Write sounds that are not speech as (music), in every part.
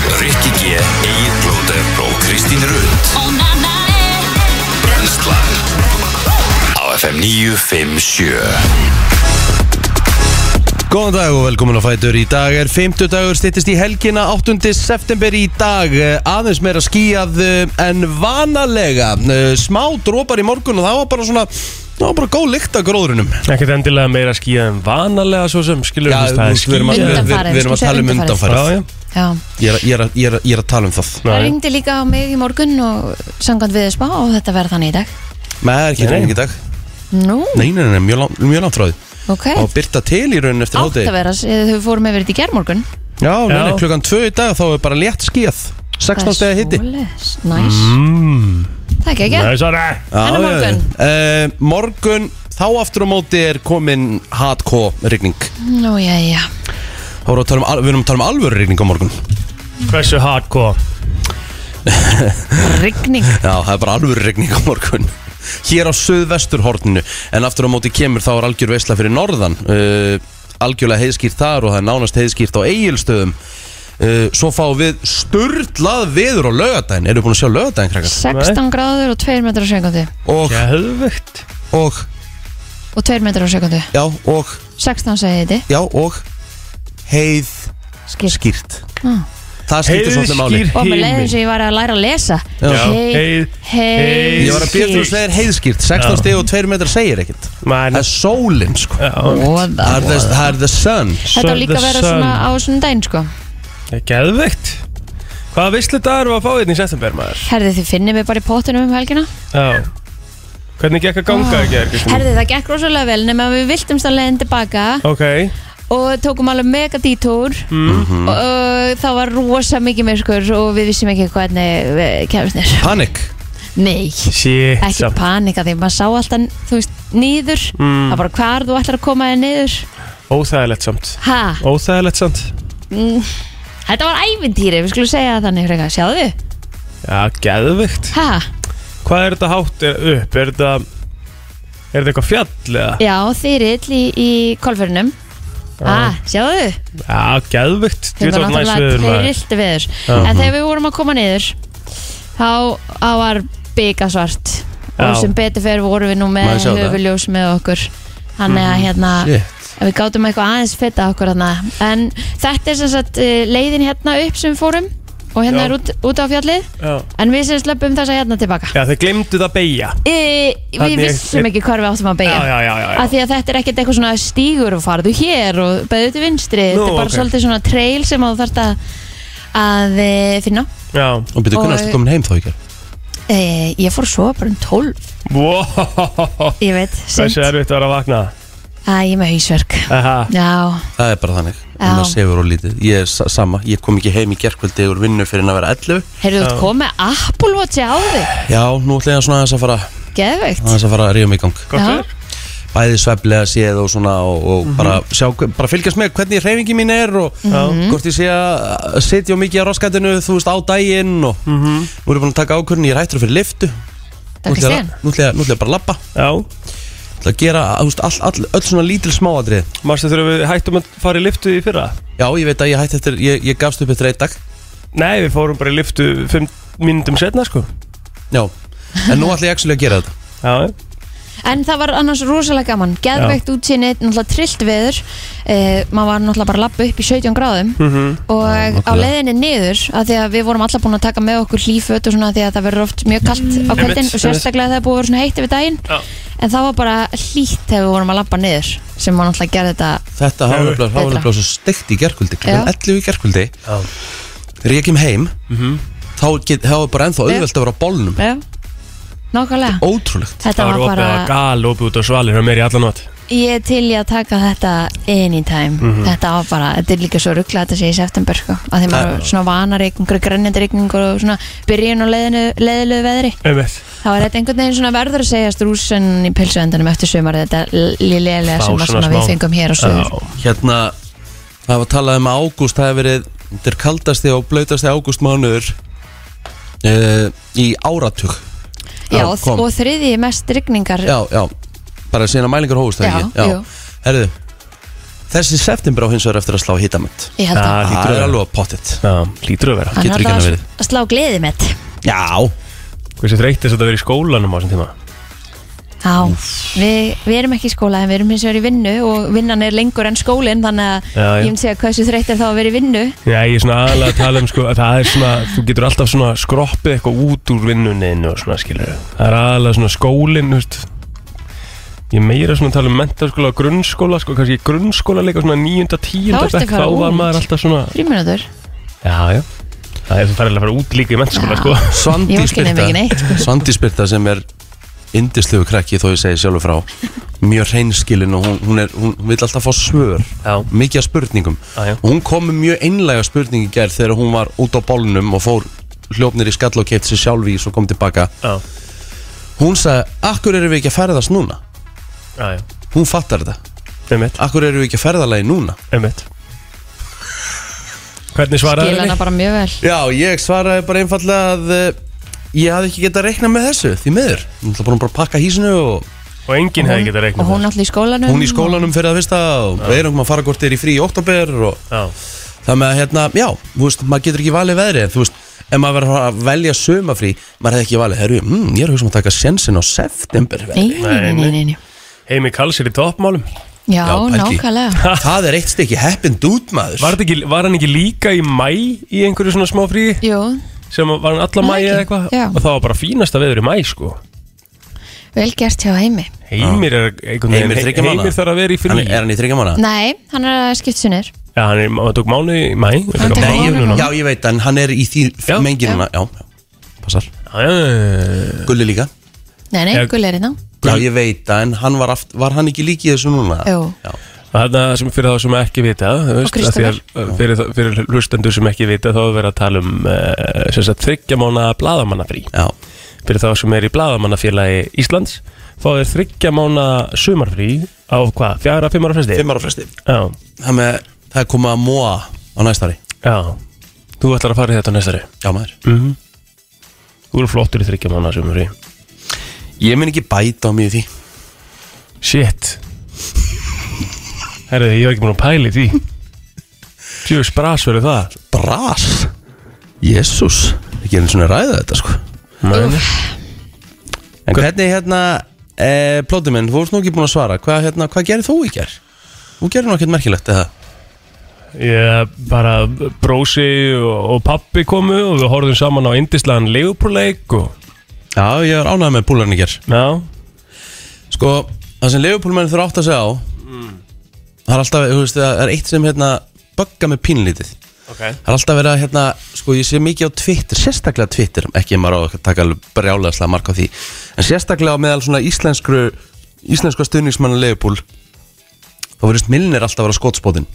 G, Egil Blóter og Kristín Rund Brenslan Á FM 957 Góðan dag og velkomin á Fætur. Í dag er 50 dagur, styttist í helgina 8. september í dag. Eh, Aðeins meira skíjað eh, en vanalega. Eh, Smá drópar í morgun og það var bara svona, það var bara góð lykt af gróðrunum. Ekkert endilega meira skíða en vanalega svo sem skilur Já, við við erum það er að- um við- við- skíða Undanfarið, við erum að skilja, tala um undanfarið. undanfarið. já, Já, Ég er að- ég er að- ég er að- ég er að tala um það. það já. ringdi líka á mig í morgun og sangand við spá og þetta verða þannig í dag Nei, það er ekki Nei. reyning í dag. Nú, Nei, nei, nei, mjög langt- mjög langt frá því. ok Og byrta til í raunin eftir Átt að hátti. vera, eða þau fórum yfir þetta í germorgun Já, nei, nei, Já. klukkan 2 í dag þá er bara létt skíjað. 16 steg hitti. Næs, það Mm. er ekki ekki Nei, sorry En á morgun? Uh, morgun, þá aftur á móti er komin hardcore rigning Nú, já, já Þá erum við að tala um al- Við erum að tala um alvöru rigning á morgun Hversu hardcore Rigning Já, það er bara alvöru rigning á morgun Hér á suðvesturhorninu En aftur á móti kemur þá er algjör veisla fyrir norðan uh, Algjörlega heiðskýrt þar og það er nánast heiðskýrt á eigilstöðum uh, Svo fáum við sturlað veður á laugardaginn Eru búin að sjá laugardaginn, krakkar? 16 gráður og 2 metrar á sekundu Og, Gæðvögt og, og 2 metrar á sekundu já, og, 16 segi hitti já, og Heiðskýrt Skýrt Ah. Það skiptir svolítið máli Heiðskýr Og með leiðin heiminn sem ég var að læra að lesa Já. Heið- heið Ég var að byrja þú slegir heiðskýrt 16 Já. steg og 2 metrar segir ekkert Man, Það er sólinn sko já, Það er Voða the- það er the sun Þetta á líka að vera svona á svona daginn sko Gæðvögt Hvaða veislu dagar var að fá þetta í september maður Herði þið finnið mig bara í pottunum um helgina Já Hvernig gekk að ganga ekki er Herði það gekk rosalega vel nema við viltumst að leiðin tilbaka Ok og tókum alveg mega dítúr og uh, það var rosa mikið myrkur og við vissum ekki hvernig við kemst nér Panik Nei, Shit ekki samt. panika því maður sá alltaf, þú veist, niður það var bara hvar þú ætlar að koma þér niður Óþægilegt samt Ha, Óþægilegt samt þetta var ævintýri, við skulum segja það þannig frekar, sjáðu, Já, gæðvögt ha Hvað er þetta hátt er upp? Er þetta Er þetta eitthvað fjall eða? Já, þyrill í, í kolfurinnum Ha, sjáðu Já, gæðvögt Þú Þetta veist var að næs viður náttúrulega maður Mhm. rilti veður En þegar við vorum að koma niður Þá þá var byggasvart Og Já. sem betur fyrir vorum við nú með Maður sjá það. höfuljós með okkur Þannig Mhm. að hérna Shit ef Við gátum eitthvað aðeins feta okkur hérna En þetta er sem sagt eh, leiðin hérna upp sem við fórum Og hérna Já. er út, út á fjallið Já. En við sem slöpum þessa hérna tilbaka Já, þeir glemdu það beigja e, Við Þarna er- vissum ekki hvar við áttum að beigja Já, já, já, já, já. Af því að þetta er ekkert eitthvað svona stígur og farðu hér og beðu til vinstri Nú, Þetta er bara ok. svolítið svona trail sem að þú þarft að, að e, finna Já Og byrju, hvernig Og- erstu komin heim þá ekki? e, Ég fór svo bara um 12 wow. Ég veit, sent Þessi erfitt að vera að vakna Æ, ég er með hausverk Aha. Já, Það er bara þannig Já. En maður sefur og lítið Ég er sa- sama Ég kom ekki heim í gerkvöldi úr vinnu fyrir en að vera 11 heyrðu þú komið Apple Watch á þig Já, nú ætla ég að svona aðeins að fara Geðveikt aðeins að fara að ríða mig í gang Ah, Gott Já. er. Bæði sveflega séð og svona og, og bara, sjá, hve- bara fylgjast með hvernig hreyfingi mín er og Mhm. hvort ég sé að að sitja á mikið á raskatinu þú veist á daginn og nú er ég búin að taka ákvörðin ég er hættur fyrir liftu Nú Takk ætla ég Kristján að- nú ætla ég að- nú ætla ég bara að labba Já Það gera, þú veist, all, all, öll svona lítil smáadrið Marstu þurfum við hættum að fara í liftu í fyrra Já, ég veit að ég hætti eftir, ég, ég gafst upp eftir einn dag Nei, við fórum bara í liftu Fimm mínútum setna sko Já, en nú ætla ég actually að gera þetta Já En það var annars rosalega gaman Geðveikt útsýni, náttúrulega trillt veður e, Maður var náttúrulega bara að labba upp í 17 gráðum Mhm. og nákvæmlega. á leiðinni niður að því að við vorum alla búin að taka með okkur hlýföt og svona því að það verður oft mjög kallt á kvöldin Einmitt, og sérstaklega það er búið að vera svona heitt yfir daginn Já. en það var bara hlýtt þegar við vorum að labba niður sem var náttúrulega að gera þetta Þetta Já, hafði betra. bara svo steikt í gerkvöldi Já. Klukkan 11 í gerkvöldi Þegar ég kem heim Þá get, þá er bara ennþá auðvelt að vera á bólnum Já. nákvæmlega Ótrúlegt þetta Það var var opið að bara, gal opið út á svalir og meir í allan vat ég er til í að taka þetta anytime, þetta var bara þetta er líka svo ruggla að þetta sé í september sko. að því maður er svona vanar einhverju grænjandarikning og svona byrjun og leiðilegu veðri Einmitt Það var þetta einhvern veginn svona verður að segjast rúsan í pilsuendanum eftir sumar þetta liðlega Fá sumar svona sem að við smá- fengum hér á Já sögur Hérna, það var talað um að ágúst Það hefur verið, þetta er kaldasti og blautasti ágúst mánuður uh, Í áratug Já, Já, og, kom. og þriði mest rigningar Já, já, bara síðan að mælingar hófust það Já, ekki jú. Herðu, Þessi september á hins vegar eftir að slá hitamönd Ég held Ah, að Það hlýtur að er vera. alveg að pottit Já, lítur að vera Hann getur er ekki alltaf annað að s- að slá gleði mitt Já, Hversu þreytist þetta að vera í skólanum á þessum tíma Já, við, við erum ekki í skóla en við erum hins vegar í vinnu og vinnan er lengur enn skólinn þannig að Já, já. ég myndi segja hversu þreytt er þá að vera í vinnu Já, ég er svona aðalega að tala um sko að Það er svona, þú getur alltaf svona skroppið eitthvað út úr vinnuninu og svona skilur Það er aðalega svona skólinn, þú veist Ég er meira svona að tala um mentaskóla og grunnskóla sko, kannski í grunnskóla líka svona 9. 10. Þá ertu að bekk fara þá var út. maður alltaf svona Fríminútur Já, já Það er það færðilega að fara út líka í mentaskóla sko Ég Svandi orki nefn ekki neitt, sko. Spyrta Svandi Spyrta sem er indislegu krakki þó ég segi sjálfur frá mjög reynskilin og hún, hún, er, hún vil alltaf fá svör Já. mikið af spurningum Já, já. og hún kom með mjög einlega spurningi gær þegar hún var út á bólnum og fór hljópnir í skall og keitt sér sjálf í og kom tilbaka Já, hún sagði, akkur erum við ekki að ferðast núna? já, já, hún fattar þetta, einmitt, akkur erum við ekki að ferðalagi núna? einmitt Hvernig svaraði Gila hana bara mjög vel Já, ég svaraði bara einfallega að eh, ég hafði ekki getað að rekna með þessu, því miður hún ætla bara að pakka hísinu og Og enginn hefði getað Og reiknað hún alltaf í skólanum hún í skólanum fyrir að vista og við erum að fara hvort þeir í frí í oktober og Já, það með að hérna, já, þú veist, maður getur ekki valið veðri en þú veist, ef maður verður að velja sömafrí, maður hefði ekki valið, herru, mm, ég er að hugsa um að taka sensin á september Nei, nei, nei, nei, nei. heimi kalsir í toppmálum Já, Já, pældi. nákvæmlega það er eitt stykki heppin dút maður Var, þetta ekki, var hann ekki líka í mæ í einhverju svona smá fríi? Jú, sem var hann alla Nei, mæ eða ekki. eitthvað Já. og það var bara fínasta veður í mæ sko vel gert hjá heimi Heimir er einhvern Heimir he- þriggja mánaða. Heimir þarf að vera í hann, frí er hann í þryggja mánu? Nei, hann er að skipta sér niður Já, hann er, hann tók mánu í mæ er Hann það tók mánuð mánuð núna? Já, ég veit, en hann er í því Já. menginuna, já, já, passar Já, já, já, já. Gulli líka, Nei, nei, Já. gull er hérna já, ég veit það, en hann var, aft, var hann ekki líki þessu núna? Jú. Já, Þarna sem fyrir þá sem ekki vita þú veist, Og af því að- fyrir, þá- fyrir hlustendur sem ekki vita þá er verið að tala um uh, sem sagt þryggja mána bladamannafrí já, fyrir þá sem er í bladamannafélagi Íslands þá er þryggja mána sumarfrí á hvað, fjara, fimm ára fresti fimm ára fresti Já, Það með, það er komið að móa á næstari já, þú ætlar að fara í þetta næstari Já, maður -hmm. Þú eru flottur í þryggja mánu sumari Ég minn ekki bæta á mjög því Shit Herðu, ég var ekki búin að pæli því Tjóðu spras verið það Bras Jésús Ekki einu svona ræða þetta sko Mæni En hvernig hérna e, Plóti minn, þú ert nú ekki búin að svara Hvað hérna, hva gerir þú í ger? Þú gerir nú ekkert merkilegt eða Ég bara brósi og, og pappi komu og við horfðum saman á indislegan leigupúrleik og Já, ég er ánægð með búlarni í ger Já, Sko, það sem leifupúlmenn þurfa átt að segja á Það er alltaf, þú veist, það er eitt sem hérna Bögga með pínlítið ok Það er alltaf verið að hérna, sko ég sé mikið á Twitter, sérstaklega Twitter, ekki ef maður á að taka alveg brjálega mark á því en sérstaklega á meðal svona íslenskru íslenska stuðningsmanna leifbúl þá verðist Milner alltaf að vera skotspótin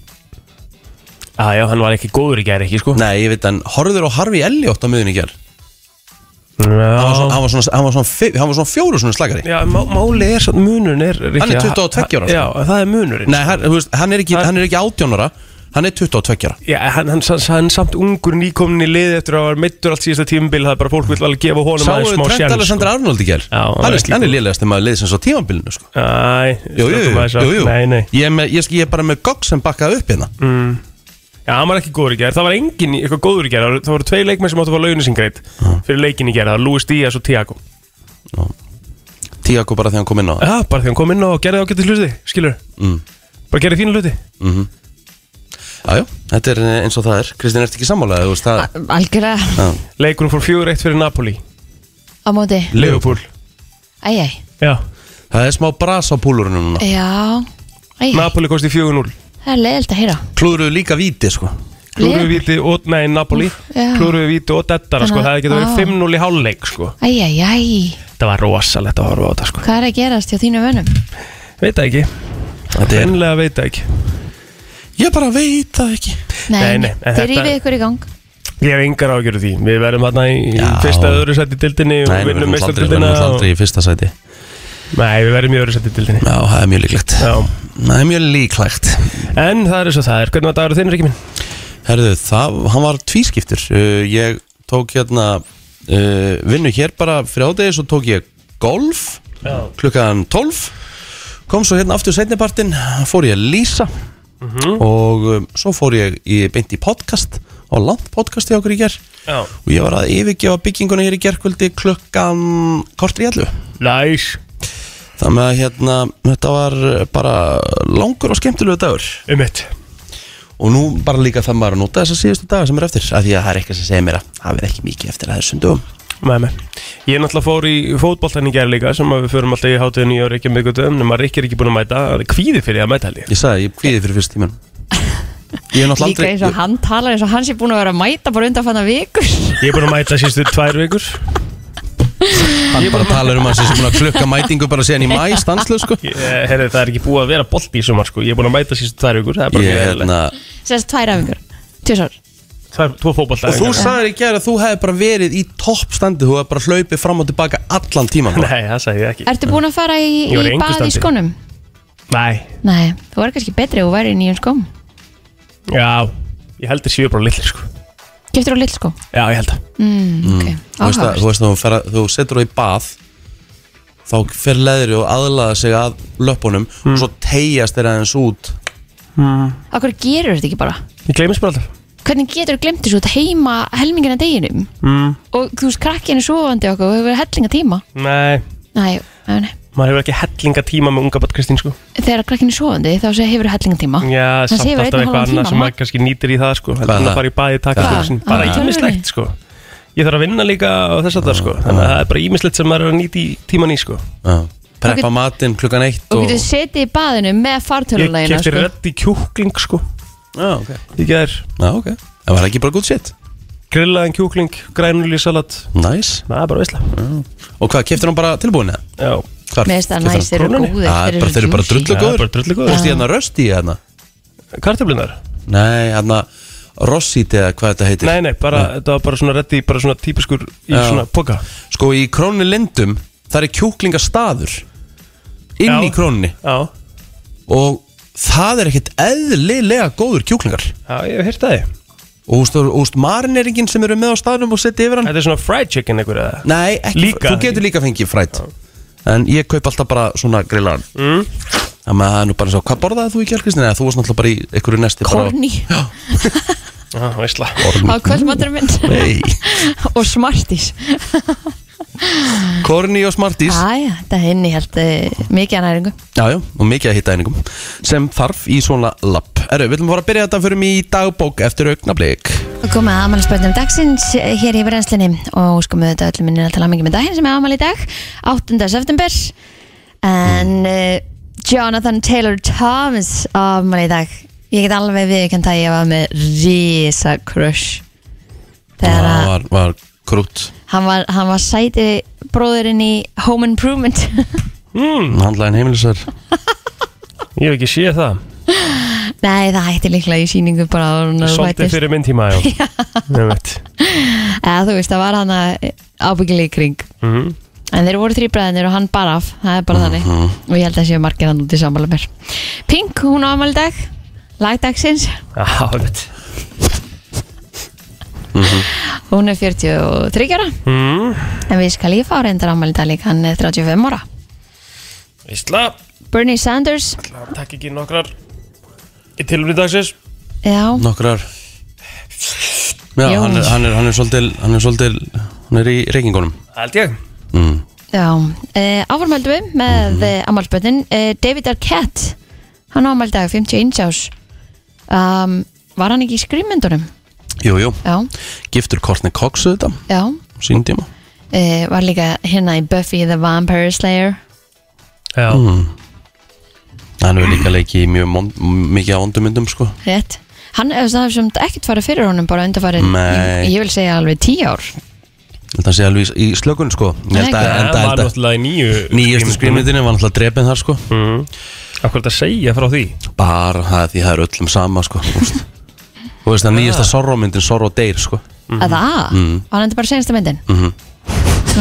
Ah, Já, já, hann var ekki góður í gæri ekki sko Nei, ég veit hann, horfður á Harfi Elliot á miðun í gerð hann var svona, Já, hann var svona, hann var svona, fi- hann var svona fjóru svona slagari já má, máli er svo munurinn er Rikki, Hann er 22 ára, sko. Já, það er munurinn Nei, hann, þú veist, hann, er ekki, hann er ekki 18 ára hann er 22 ára Já, hann, hann, hann, hann samt ungur nýkomin í lið eftir að var mittur allt síðasta tímabil það er bara fólk vil alveg gefa honum aðeins Sáuðu smá sko. Trent sjans Alexander Arnold í gerð Já, hann hann var er, ekki hann er góð. liðlegast maður liðsins á tímambilinu sko. Æ, Jú, jú, slökum aðeins jú, á- jú. Nei, nei Ég, er með, ég, sk- ég er bara með gogg sem bakkað upp hérna Mm. Já, hann var ekki góður í gerð, það var engin í- eitthvað góður í gerð það voru- það voru tvei leikmenn sem áttu að fá launinu sín greitt fyrir leikin í gerð, það var Luis Díaz og Tiago Tíaku bara þegar hann kom inn á það Já, bara því hann kom inn og gerði ágættis hluti, skilur Mm. Bara gerði fína hluti Jájá, þetta er eh, eins og það er Kristín, ertu ekki sammálaðið? Þú veist það A- Algjörlega Já. Leikunum fór fjögur eitt fyrir Napoli á móti Leopold Æj, æj, Já, Það er smá bras á púlurinu Eh. núna já Æj, Napoli kosti 4-0 það er leiðilt að heyra Klúruðu líka víti, sko Klúruðu Leopold? víti og, nei, Napoli já. Klúruðu víti og dettara, Þannig sko, að- það getur verið á. 5-0 í hálfleik, sko Æj, æj, æj Það var rosalegt að horfa á þetta, sko Hvað er að gerast hjá þínu vönum? Veit það ekki, Þetta er ennlega veit það ekki Ég bara veit það ekki Nei, nei, Þeir en þetta- rífið ykkur í gang Ég hef engar ágjörðu því Við verðum hérna í í Já. fyrsta eða öðru sæti dildinni og Nei, við vinnum verðum náttúrulega aldrei, við mesta verðum dildina náttúrulega og... aldrei í fyrsta sæti Nei, við verðum í öðru sæti dildinni Já, það er mjög líklegt Já. Það er mjög líklegt En það er eins og það er Hvernig var dagur þinn, Ríkki minn? Herðu, það, hann var tvískiptur uh, Ég tók hérna uh, vinnu hér bara fyrir ádegi Svo tók ég golf Já. klukkan 12 Kom svo hérna aftur setnipartin Fór ég að lýsa og um, svo fór ég í beint í podcast á langt podcast hjá okkur í ger Já. og ég var að yfirgefa bygginguna hér í gerkvöldi klukkan kortur í allu Læs þannig að hérna, þetta var uh, bara langur og skemmtilegu dagur Um mitt og nú bara líka það maður að nota þessa síðustu daga sem er eftir af því að það er eitthvað sem segir mér að það verð ekki mikið eftir að þessum dögum Með mig Ég náttúrulega fór í fótboltan í gær líka sem að við förum alltaf í hátíðin í ári ekki með guttum nema Rikki er ekki búin að mæta Það er kvíði fyrir að mæta held ég Ég sagði, ég kvíði fyrir fyrst tíman Ég er náttúrulega Líka aldrei eins og hann talar eins og hann sé búin að vera að mæta bara undanfanna vikur Ég er búin að mæta sístu tvær vikur Hann bara talar um hans sem búin að klukka mætingu bara síðan í mæ, stanslu sko Ég- Herri, það er ekki búið að vera bolti í sumar sko. Ég er búin að mæta sístu tvær vikur Það er bara Ég, mjög eðlilegt. hérna, Sérst tvær æfingur, tjósar Það er tvo fótbolta Og þú sagðir í gæri að þú hefði bara verið í toppstandi Þú hefði bara hlaupið fram og tilbaka allan sko. tíman Nei, það sagði ég ekki Ertu búin að fara í, Ég var í í engu bað í standi. skónum? Nei, Nei, þú var kannski betri og væri í nýjum skóm já Ég held þér séu bara litlir sko Giftur á lill skóm? Já, ég held það Mm, okay. Þú veist að, áhugavert. þú, veist að þú, fer, að- þú setur þú í bað Þá fer leðri og aðlaða sig að löpunum Hmm. Og svo tegjast þeir aðeins út Af hverju gerur þetta ekki bara? Ég gleymist bara alltaf Hvernig getur þú glemt þessu út heima helmingina deginum? mm. Og þú veist, krakkinu sofandi okkur og hefur hellinga tíma Nei, Nei, nei, nei maður hefur ekki hellinga tíma með unga bætt Kristín sko Þegar krakkinu sofandi þá sé hefur hellinga tíma Hann Já, samt sefur alltaf einn og eitthvað hálfan annað tíma, sem ha? Ah, maður kannski nýtir í það sko Hvað heldur en það? að fara í bæði taka Hvað? fyrir sín bara Á, í ímislegt alvörunni? sko Ég þarf að vinna líka og þess að það sko þannig að það er bara ímislegt sem maður er að nýta í tíman í sko Já. Preppa matinn klukkan eitt Og og, getur setið í baðinu með sko. Ég fartölulegina kefti rödd í kjúkling sko Já, ok Ég ger Já, ok Það var ekki bara gútt shit grillaðan kjúkling, grænulí salat Nice Það er bara veistla Og hvað, keftir hann bara tilbúin eða? Já, Hvar- Með þess að keyptirðu hann? næst þeir eru krónunni? góðir Já, bara- þeir eru bara juicy. drullu það er bara drullu Þú góð veist ég hérna rösti í hérna Kartöflunar? Nei, hérna Rossít eða hvað þetta heitir Nei, nei, bara, þetta var bara svona reddi, bara svona típiskur í Já. svona poka Sko í krónu lindum Það er kjúklingastaður Inn Já. í krónunni Já, Og það er ekkert eðlilega góður kjúklingar já, ég hef heyrt það þig. Og úst, og úst marineringin sem eru með á staðnum og setja yfir hann Þetta er svona fried chicken einhver eða? Nei, ekki Líka. Þú getur líka fengið frætt En ég kaup alltaf bara svona grillaðan mm. Þannig að það er nú bara svo Hvað borðaði þú í kjærkristin? Þú varst náttúrulega bara í einhverju nesti bara- Korni Já, veistla á kvöldmaturum minn Nei, (laughs) og smartís korni og smartís Æja, þetta henni held mikið að næringu Jájá, og mikið að hitta einingum sem þarf í svona lapp Erðu, við viljum fara að byrja þetta fyrir mig í dagbók eftir augnablík Og komið að afmælisbörnum dagsins eh, hér í brennslunni og sko með þetta öllum minni að tala mikið með daginn sem er afmæli í dag 8. september en Mm. uh, Jonathan Taylor Thomas afmæli í dag ég get alveg viðkjönd að ég var með risa crush þegar Það að var, var krútt hann var, hann var sæti bróðurinn í Home Improvement (laughs) mm. Handlæðin heimilisar Ég hef ekki séð það nei það hætti líklega í síningu bara áður en hún Svolítið fæddist. fyrir minn tíma, (laughs) já Ég veit eða þú veist það var hann að ábyggilega í kring Mhm. En þeir voru þrýbræðinir og hann bara af Það er bara þannig Og ég held að séu margir hann út í sammála mér Pink, hún á afmæli í dag Lagdagsins Já, ég veit Hún er 43 ára Mm. En við skal ég fá reyndar afmæli í dag líka Hann er 35 ára Veistla Bernie Sanders Takk ekki nokkrar Í tilumni dagsins Já, Nokkrar Já, Jón. hann er, hann, er, hann er svolítil Hann er svolítil Hann er í reykingunum Held ég mm. já e, Áframhaldum við með mm -hmm. afmælspöndin David Arquette Hann á afmæli í dag 51 árs um, Var hann ekki í skrýmyndunum? Jú, jú Já, Giftur Kortni Cox þetta já Sín tíma e, Var líka hérna í Buffy the Vampire Slayer Já Hann hefur líka leikið í mjög mond, mikið á ondumyndum sko Rétt Hann er það sem ekkert farið fyrir honum bara undarfærin Nei. ég, ég vil segja alveg tíu ár Ég held að hann sé alveg í, í slökun sko Ég held Nei, að, enda, Það var enda, náttúrulega Mm. í nýju Nýjastu skrifmyndinni var náttúrulega drepin þar sko Akkur þetta segja frá því bara það því það er öllum sama sko þú veist. þú veist (laughs) það nýjasta sorrómyndin sorró deyr sko að það, var hann þetta bara senasta myndin Mhm.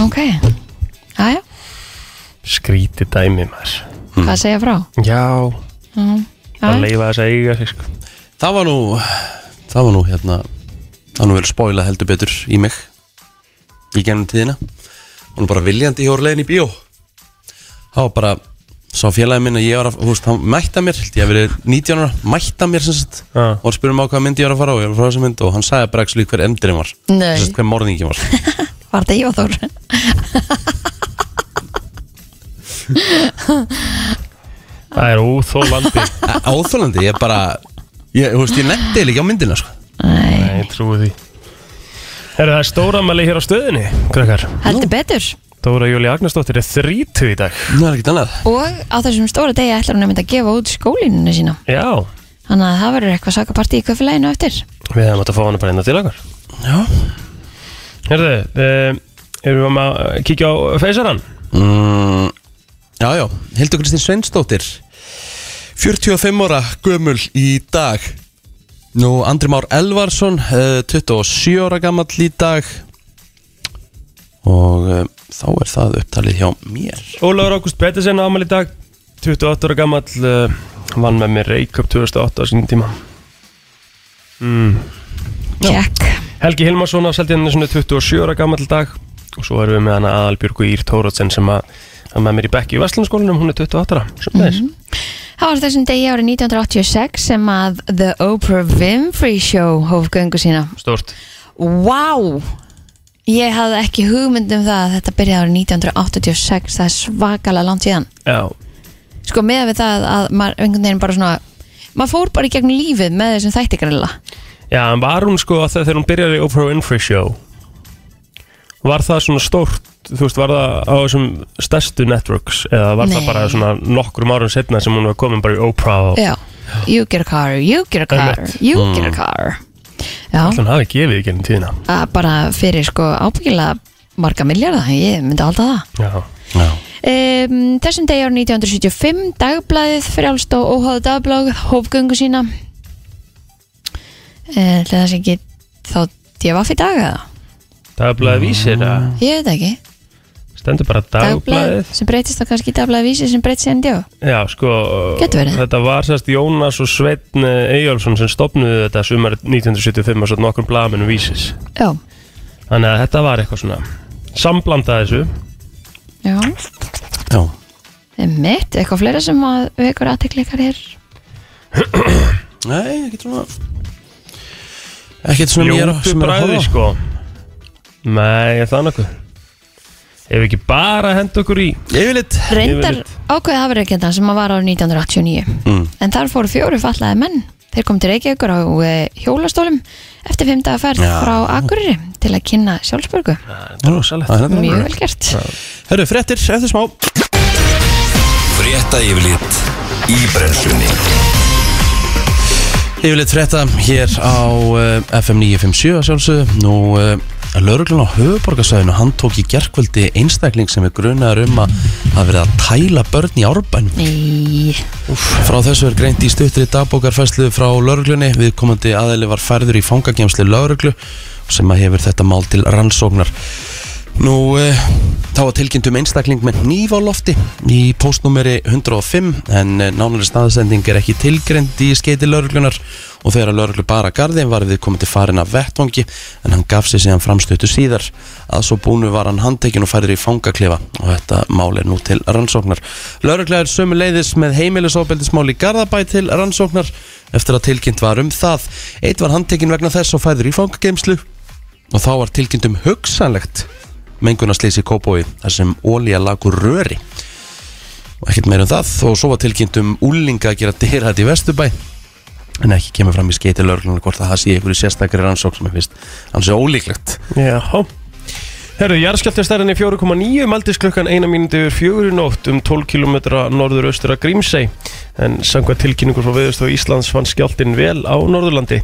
ok aðja, Skríti dæmi maður Mhm. hvað segja frá Já Að Jæja. leifa þess að eiga sig sko það var nú það var nú hérna það var nú vel spoila heldur betur í mig í gennum tíðina og nú bara viljandi hjá orðlegin í bíó það var bara Sá félagi minn að ég var að, þú veist, hann mætti að mér held Ég hef verið 19 ára, mætti að mér sem sagt Já. Og hann spurði mig á hvaða mynd ég var að fara á Ég var að fara á þessa mynd og hann sagði bara ekki slík hver endurinn var Nei. Sem sagt, Hver morðingin var Var þetta ég og Þór? Það er (laughs) óþólandi Á- Óþolandi, ég bara Ég, þú veist, ég nefndi eiginlega ekki á myndina, sko Nei, Nei, ég trúi því Herra, það er stóramæli hér á stöðinni, krakkar heldur betur Dóra Júli Agnarsdóttir er þrítu í dag Nú er ekkert annað Og á þessum stóra degi ætlar hún að mynda að gefa út skólínuna sína Já, Þannig að það verður eitthvað sakapartí í kaufélaginu eftir við hefum átt að fá hana bara hérna til okkar Já Herðu, uh, erum við að kíkja á feysarann? mm, Já, já, Hildur Kristín Sveinsdóttir 45 ára gömul í dag Nú, Andri Már Elvarsson eh, 27 ára gamall í dag Og eh, þá er það upptalið hjá mér Ólafur Ágúst Pettersen ámæli í dag 28 ára gammal uh, vann með mér Reykjavík 2008 á sínum tíma Kekk Helgi Hilmarsson á Seldjarnisinu 27 ára gammal í dag og svo erum við með hana Aðalbjörgu Ír Tórótsen sem að að með mér í bekki í Vestlandskólanum, hún er 28 ára Sjöfnæðis, Það var á þessum degi árið 1986 sem að The Oprah Winfrey Show hóf göngu sína stórt Vá! Ég hafði ekki hugmynd um það að þetta byrjaði árið 1986 það er svakalega langt síðan Já, sko með við það að maður einhvern veginn bara svona maður fór bara í gegnum lífið með þessum þætti greinlega Já en var hún sko að þegar þegar hún byrjaði í Oprah Winfrey Show var það svona stórt þú veist, var það á þessum stærstu networks eða var Nei. það bara svona nokkrum árum setna sem hún var komin bara í Oprah og já, Mm. you get a car, you get a car Einmitt. you get a car já, Hún hafi gefið í gennum tíðina að bara fyrir sko ábyggilega marga miljardar, ég myndi halda það Já, Já um, þessum degi árið 1975 dagblæðið frjálst og óháðu dagblóð hófgöngu sína eða það sé ekki þá djöfaf í dag eða dagblæðið Mm. vísir að ég veit það ekki, stendur bara dagblæðið sem breytist þá kannski í dagblæðið vísi sem breytist síðan djöf Já, sko, Getur verið. þetta var sérst Jónas og Sveinn Eyjálfsson sem stopnuðu þetta sumar 1975 og svo nokkrum blagamennum vísis já, Þannig að þetta var eitthvað svona samblandað þessu já Já, mitt, eitthvað fleira sem að vekur aðtekli ykkar hér nei, ekkert svona Ekkert svona mér að- Ljótu sem er að bræði, horfa á. sko Nei, er það nokkuð Ef við ekki bara henda okkur í Yfirleitt reyndar Yfirleitt. ákveðið hafverðarkendan sem að var árið 1989 Mm. en þar fóru fjóru fallaði menn þeir kom til Reykjavíkur á eh, hjólastólum eftir fimm daga ferð Já. frá Akureyri til að kynna sjálfsbörgu Það er þetta. mjög vel gert Herru, fréttir, eftir smá Frétta yfirlit í brennslunni Yfirleitt frétta hér á uh, FM 957 að sjálfsögðu Nú, uh, lauruglan á höfuborgarsæðinu hann tók í gerkvöldi einstakling sem er grunaður um að hafa verið að tæla börn í árbænum Í, Frá þessu er greint í stuttri dagbókarfæslu frá lauruglunni Viðkomandi aðeili var færður í fangagemsli lauruglu sem að hefur þetta mál til rannsóknar Nú, eh, þá var tilkynnt um einstakling með nýf á lofti í postnúmeri 105 en eh, nánari staðsending er ekki tilgreind í skeiti lauruglunar og þegar að lauruglu bara garði var við komandi farin af vettvangi en hann gaf sig síðan framstötu síðar að svo búnu var hann handtekinn og færður í fangaklefa og þetta mál er nú til rannsóknar. Laurugla er sömu leiðis með heimilisofbeldismál í Garðabæ til rannsóknar eftir að tilkynnt var um það. Eitt var handtekinn vegna þess og færður í fangageimslu og þá var tilkynnt um hugsanlegt mengunaslýs í Kópói þar sem ólíja lagur röri og ekkert meir um það og svo var tilkynnt um úlinga að gera dyrhætt í Vesturbæ en ekki kemur fram í skeiti lögreglunum hvort að það sé einhverju sérstakri rannsókn sem er fyrst hans er ólíklegt Já Herru, jarðskjálftastærðin er 4,9 mældist klukkan 1 mínúti yfir 4 í nótt um 12 km norður-austur að Grímsey en sangvað tilkynningur frá viðust og Íslands fann skjálftinn vel á Norðurlandi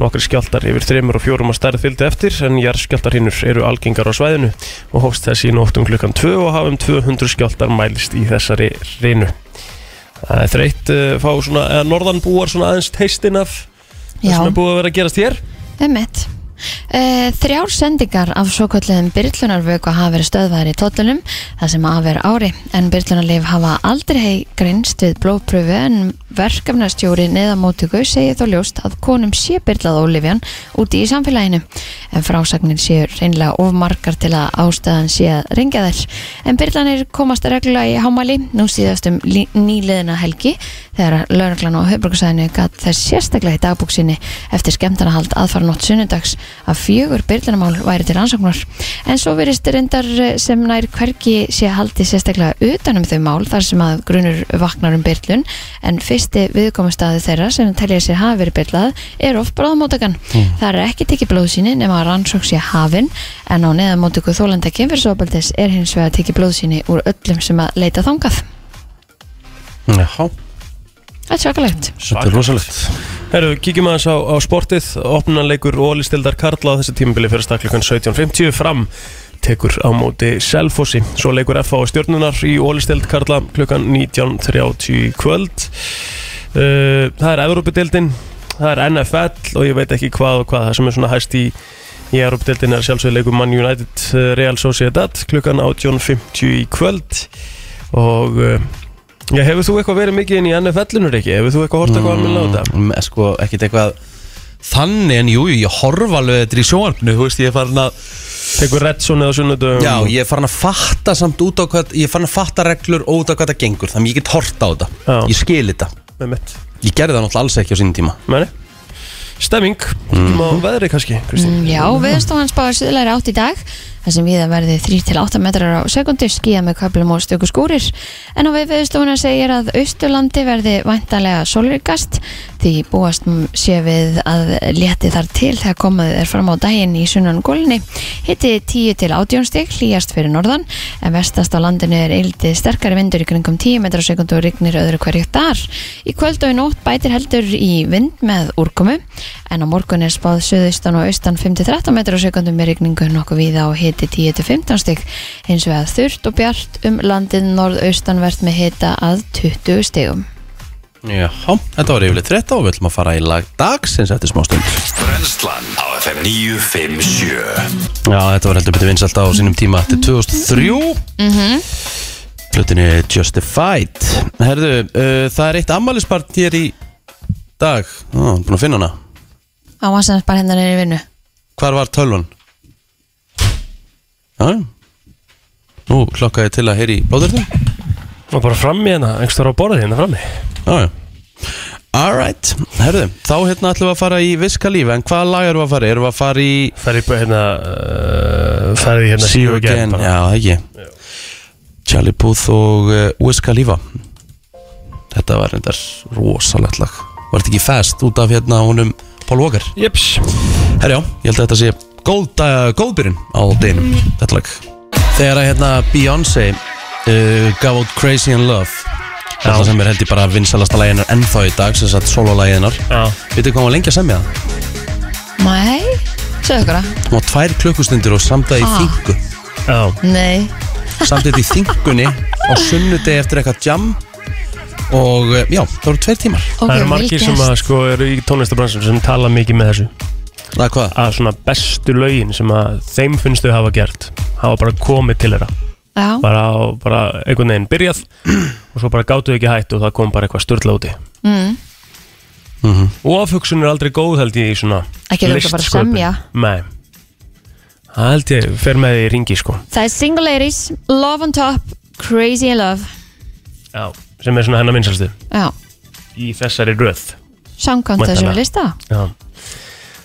Nokkri skjálftar yfir 3 og 4 að stærð fylgdi eftir en jarðskjálftar hinnur eru algengar á svæðinu og hófst þessi í nótt um klukkan 2 og hafum 200 skjálftar mælist í þessari rinu Það er þreytt eh, fá svona, eða norðanbúar svona aðeins teistin af það já, sem er búið að vera að gerast hér emmett Þrjár sendingar af svo kvöldlegum byrlunarvöku hafa verið stöðvæðir í tóllunum það sem af er ári en byrlunarlif hafa aldrei greinst við blóðpröfu en Verkefnastjóri neðamótöku segir þó ljóst að konum sé byrlað ólifjan úti í samfélaginu en frásagnir séu reynlega of margar til að ástæðan sé að ringja þær. En byrlanir komast reglulega í hámæli nú síðast um lí- nýliðina helgi þegar lauruglan á höfbruksæðinu gatt þess sérstaklega í dagbúksinni eftir skemmtanahald aðfara nótt sunnudags að fjögur byrlanamál væri til rannsóknar. En svo verist reyndar eh, sem nær hvergi sé haldið sérstaklega utanum þau mál þar sem að grunur vaknar um byrlun en fyrsti viðkomustadi þeirra sem telja sér hafi verið byrlað er oft bráðamótakan. Það er ekki tekið blóðsýni nema að rannsók sé hafin en á neðamótöku þólenda kynfyrsofabaldis er hins vegar tekið blóðsýni úr öllum sem að leita þangað. Já, Það er svakalegt. þetta er rosalegt Herru, kíkjum aðeins á, á sportið Opnanleikur Ólistildar Karla á þessi tímabili fyrir stakleikan 17.50 fram tekur á móti Selfossi Svo leikur FH og stjórnunar í Ólistild Karla klukkan 19.30 í kvöld uh, Það er Evrópudildin Það er NFL og ég veit ekki hvað og hvað það sem er svona hæst í í Evrópudildin er sjálfsögur leikur Man United eh, Real Sociedad klukkan 18.50 í kvöld og uh, Já, hefur þú eitthvað verið mikið inn í NFL-unur ekki? Hefur þú eitthvað hort eitthvað mm. alveg á þetta? Mm, Sko, ekkert eitthvað Þannig en jú, jú, ég horfa alveg þetta í sjónvarpinu Þú veist, ég er farin að Tekur Redsonið á sunnudum Já, ég er farin að fatta samt út á hvað Ég er farin að fatta reglur út á hvað það gengur Þannig ég get horta á þetta, Já. ég skil þetta Með mitt Ég gerði það náttúrulega alls ekki á sínum tíma Meni Stemming mm. Má veðri kannski, Kristín Mm, Já, viðstofan spáir suðlæri átt í dag þar sem viða verði 3-8 metrar á sekundi skýja með köplum og stöku skúrir en á við viðstofuna segir að austurlandi verði væntanlega solrikast því búast m- sé við að létti þar til þegar komið er fram á daginn í sunnan gólni hitti 10-18 stig hlýjast fyrir norðan en vestast á landinu er yldið sterkari vindur í kringum 10 metrar á sekundi og rignir öðru hverju þar í kvöld og í nótt bætir heldur í vind með úrkomu en á morgun er spáð söðaustan og austan 5-13 metrar á sekundum með rigningu nokkuð víða og hiti 10-15 stig hins vegar þurrt og bjart um landið norðaustanvert með hita að 20 stigum Já, þetta var yfirleitt rétt á Við ætlum að fara í lag dagsins eftir smá stund Brennslan á FM 957 Já, þetta var heldur betur vinsalt á sínum tíma Þetta er 2003 mm -hmm. Hlutinu Justified Herðu, uh, það er eitt ammælispart hér í dag Ó, búin að finna hana á massans bara hennar er hérna í vinnu Hvar var tölvan? Já, já. nú klokkaði til að heyri í blóðurðum Og bara fram í hérna, einhvers þar á borðið hérna frammi Já, já Alright, herðu, þá hérna ætlum við að fara í viska lífi En hvaða lag erum við að fara? í? Erum við að fara í Ferði bara hérna uh, Ferði hérna See you again, bara. já það ekki Charlie Puth og uh, Wiz Khalifa Þetta var reyndar rosalegt lag Var þetta ekki fast út af hérna honum Paul Walker Jeps Herjá, ég held að þetta sé góð, uh, góðbyrjun á deginum Þetta lag Þegar að hérna Beyoncé uh, gaf út Crazy in Love Þetta sem er held ég bara vinsalasta læginar ennþá í dag sem satt sololæginar Já Vitið hvað hún var lengi að semja það? nei, sögðu ykkur að Hún var tvær klukkustundir og samdaði í Ah. þingu Já nei, samt þetta í þingunni á sunnudegi eftir eitthvað jam og eh, já, það voru tveir tímar ok, Það eru vel margir sem gert. að sko eru í tónlistabransunum sem tala mikið með þessu Það er hvað? að svona bestu lögin sem að þeim finnst þau hafa gert hafa bara komið til þeirra já, bara, á, bara einhvern veginn byrjað (clears throat) og svo bara gátu þau ekki hætt og það kom bara eitthvað störtla úti mm, og afhugsun er aldrei góð held ég í svona Ekki langa bara að listsköpun. semja. Nei Það held ég fer með því í ringi sko það er single ladies love on top, crazy in love Já Sem er svona hennar minnsalstu já, Í þessari röð samkvæmt þessum Væntanlega. lista Já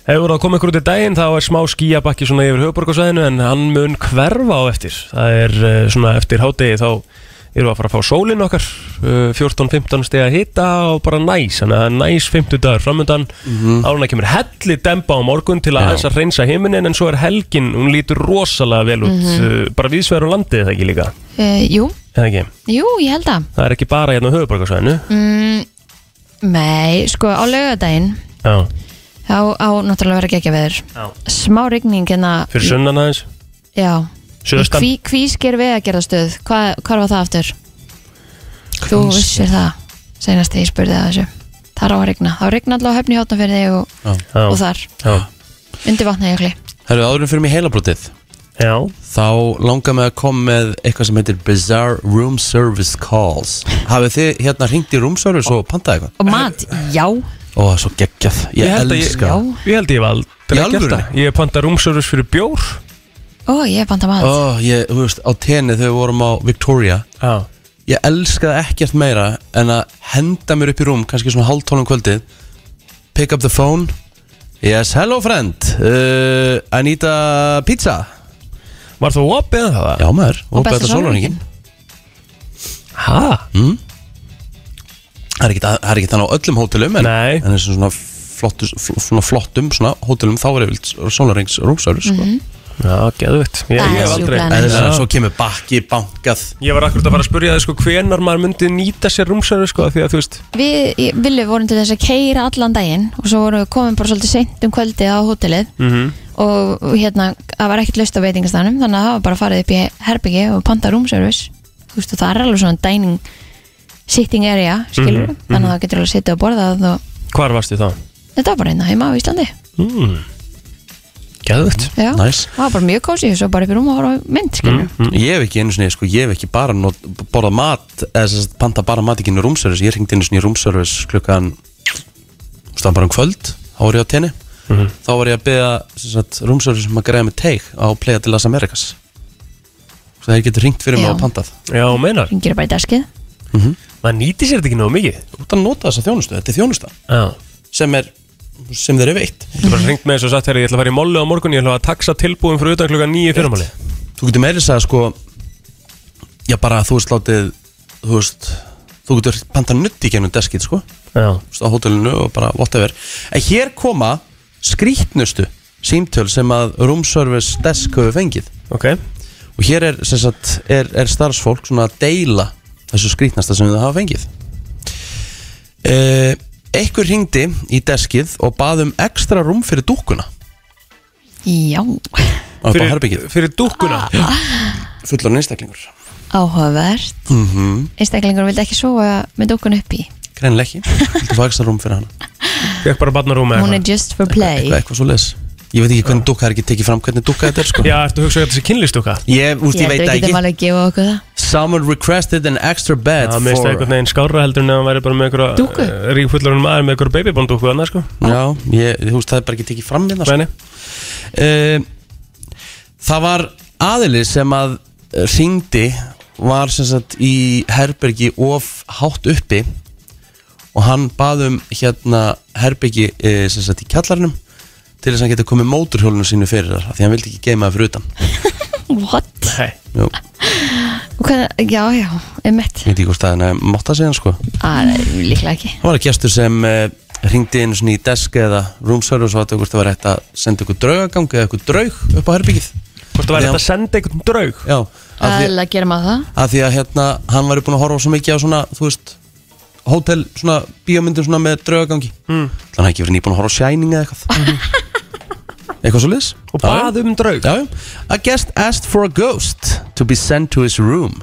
Hefur voru að koma ykkur út í daginn þá er smá skíabakki svona yfir höfuborgarsvæðinu en hann mun hverfa á eftir Það er eh, svona eftir hádegi þá erum við að fara að fá sólinn okkar eh, 14-15 steg að hita og bara næs þannig að næs 50 dagur framöndan mm -hmm. álunar kemur helli dempa á morgun til að aðeins að reynsa heiminin en svo er helgin, hún lítur rosalega vel út mm bara viðsvegar á landið er það ekki líka uh, jú, eða ekki, jú, ég held að það er ekki bara hérna á höfuborgarsvæðinu mm, nei, sko á lögadaginn Já, þá á náttúrulega verið ekki að veður já smá rigning hérna Fyrir sunnan aðeins, já söðustan Í hví sker við að gera stöð hvað, hvað var það aftur? þú Kvís- vissir það senast þegar ég spurði það þessu þar á að rigna þá rigna allavega höfni hátna fyrir þig og, Já. og þar Já, undir vatna jökli Herru, áðurum fyrir mig heilabrótið Já þá langar mig að koma með eitthvað sem heitir Bizarre Room Service Calls hafið þið hérna hringt í room service og pantað eitthvað? Og mat, já, Ó, það er svo geggjað, ég, Ég held að ég- elska já það. Ég held ég hef aldrei Í gert alvöru? það Ég hef pantað rúmsörus fyrir bjór Ó, ég er banta mat Ó, ég, þú veist, á tenni þegar við vorum á Victoria Já ég elskaði ekkert meira en að henda mér upp í rúm kannski svona hálftólum kvöldið pick up the phone yes, hello friend uh, I need a pizza Var þú opið eða það? já maður, og besta besta sólarhringinn. sólurningin Hæ? Mm. það er ekkert að- það er ekkert þannig á öllum hótelum en, Nei. en þessum svona, flottus, fl, svona flottum svona hótelum þá er yfir sólarnings rúmsörur sko. Já, geðvitt Það Ég, ég er hef aldrei sjúklega en þess Já. að svo kemur bakki, bankað Ég var akkurat að fara að spyrja þig sko hvenar maður myndi nýta sér rúmsörus sko af Því að þú veist Við, ég- Villu, vorum til þess að keira allan daginn og svo vorum við komin bara svolítið seint um kvöldi á hótelið Mhm. -hmm. og hérna, það var ekkert laust á veitingastæðanum þannig að það var bara farið upp í herbyggi og panta rúmservice Þú veist, og það er alveg svona dining sitting area, skilur þannig að það getur alveg að sitja og borða það og Hvar varstu þá? þetta var bara hérna heima á Íslandi Mm. Geðvitt Já, Nice. það var bara mjög kósi og svo bara upp í rúm og horfa á mynd, skilur Mm. Ég hef ekki einu sinni, sko, ég hef ekki bara not, borðað mat, eða sem sagt, panta bara mat ekki inn í roomservice, ég hringdi einu sinni í roomservice klukkan, þú veist það bara um kvöld þá var ég á tenni þá var ég að beða roomservice sem um að greiða með teik á Playa til Las Americas svo þeir getur hringt fyrir mig Já. og pantað Já, meinar Ringir bara í deskið Maður nýti sér þetta ekki nógu mikið út að nota þessa þjónustu, þetta er þjónusta Já sem er, sem þeir eru veitt Þú bara ringt með þess og sagt herri, ég ætla að fara í mollu á morgun, ég ætla að taxa tilbúin fyrir utan klukka nýju fyrramáli. þú getur meira að segja sko já bara þú veist látið þú veist, þú getur pantað nutt í gennum deskið sko þú Já. veist, á hótelinu og bara whatever en hér koma skrítnustu símtöl sem að room service desk hefur fengið Ok. og hér er, sem sagt, er, er starfsfólk svona að deila þessu skrítnasta sem þau hafa fengið eh, Ekkur hringdi í deskið og bað um ekstra rúm fyrir dúkkuna Já, og bara herbyggið, fyrir dúkkuna. Ah. fullan einstaklingur áhugavert mm -hmm. Einstaklingur vildi ekki sofa með dókun upp í greinileg Mhm, ekki, þú fá ekstra rúm fyrir hana Fekk bara barnarúm eða Hún er eitthvað. just for play eitthvað, eitthvað svo ég veit ekki hvernig dúkka er ekki tekið fram hvernig dúkka þetta er sko Já, ertu að hugsa þetta sé kynlistúka? ég, úst, Ég ég, held veit við það getum ekki alveg að gefa okkur það Someone requested an extra bed Já, mér finnst það einhvern veginn skárra heldur en að hann væri bara með einhverja... Dúkku? eh, Ríkfullorinn maður með einhverja babybóndúkku annars, sko. Já, ég, þú veist, það er bara ekki tekið fram hérna sko. Meni? uh, Það var aðili sem að ringdi var sem sagt í herbergi of hátt uppi og hann bað um hérna herbergi eh, sem sagt í kjallarnum til þess að hann geta komið móturhjólunum sínu fyrir þar af því hann vildi ekki geima það fyrir utan What? Nei. Jú, ég Hvað, já, já, emitt veit ekki hvort það er mátt að segja hann sko ah, Líklega ekki Það var að gestur sem eh, ringdi inn svona í desk eða room service og að það var hægt að senda ykkur draugagang eða ykkur draug upp á herbyggið Hvort það Já. væri þetta að senda einhvern draug? Já, af því, Æðilega gerum að það af því að hérna hann var búin að horfa svo mikið á svona, þú veist hótel, svona bíómyndum svona með draugagangi mm. Þannig að ekki verið nýbúin að horfa á Shining eða eitthvað Eitthvað svo liðs Og bað um draug? Já, já. A guest asked for a ghost to be sent to his room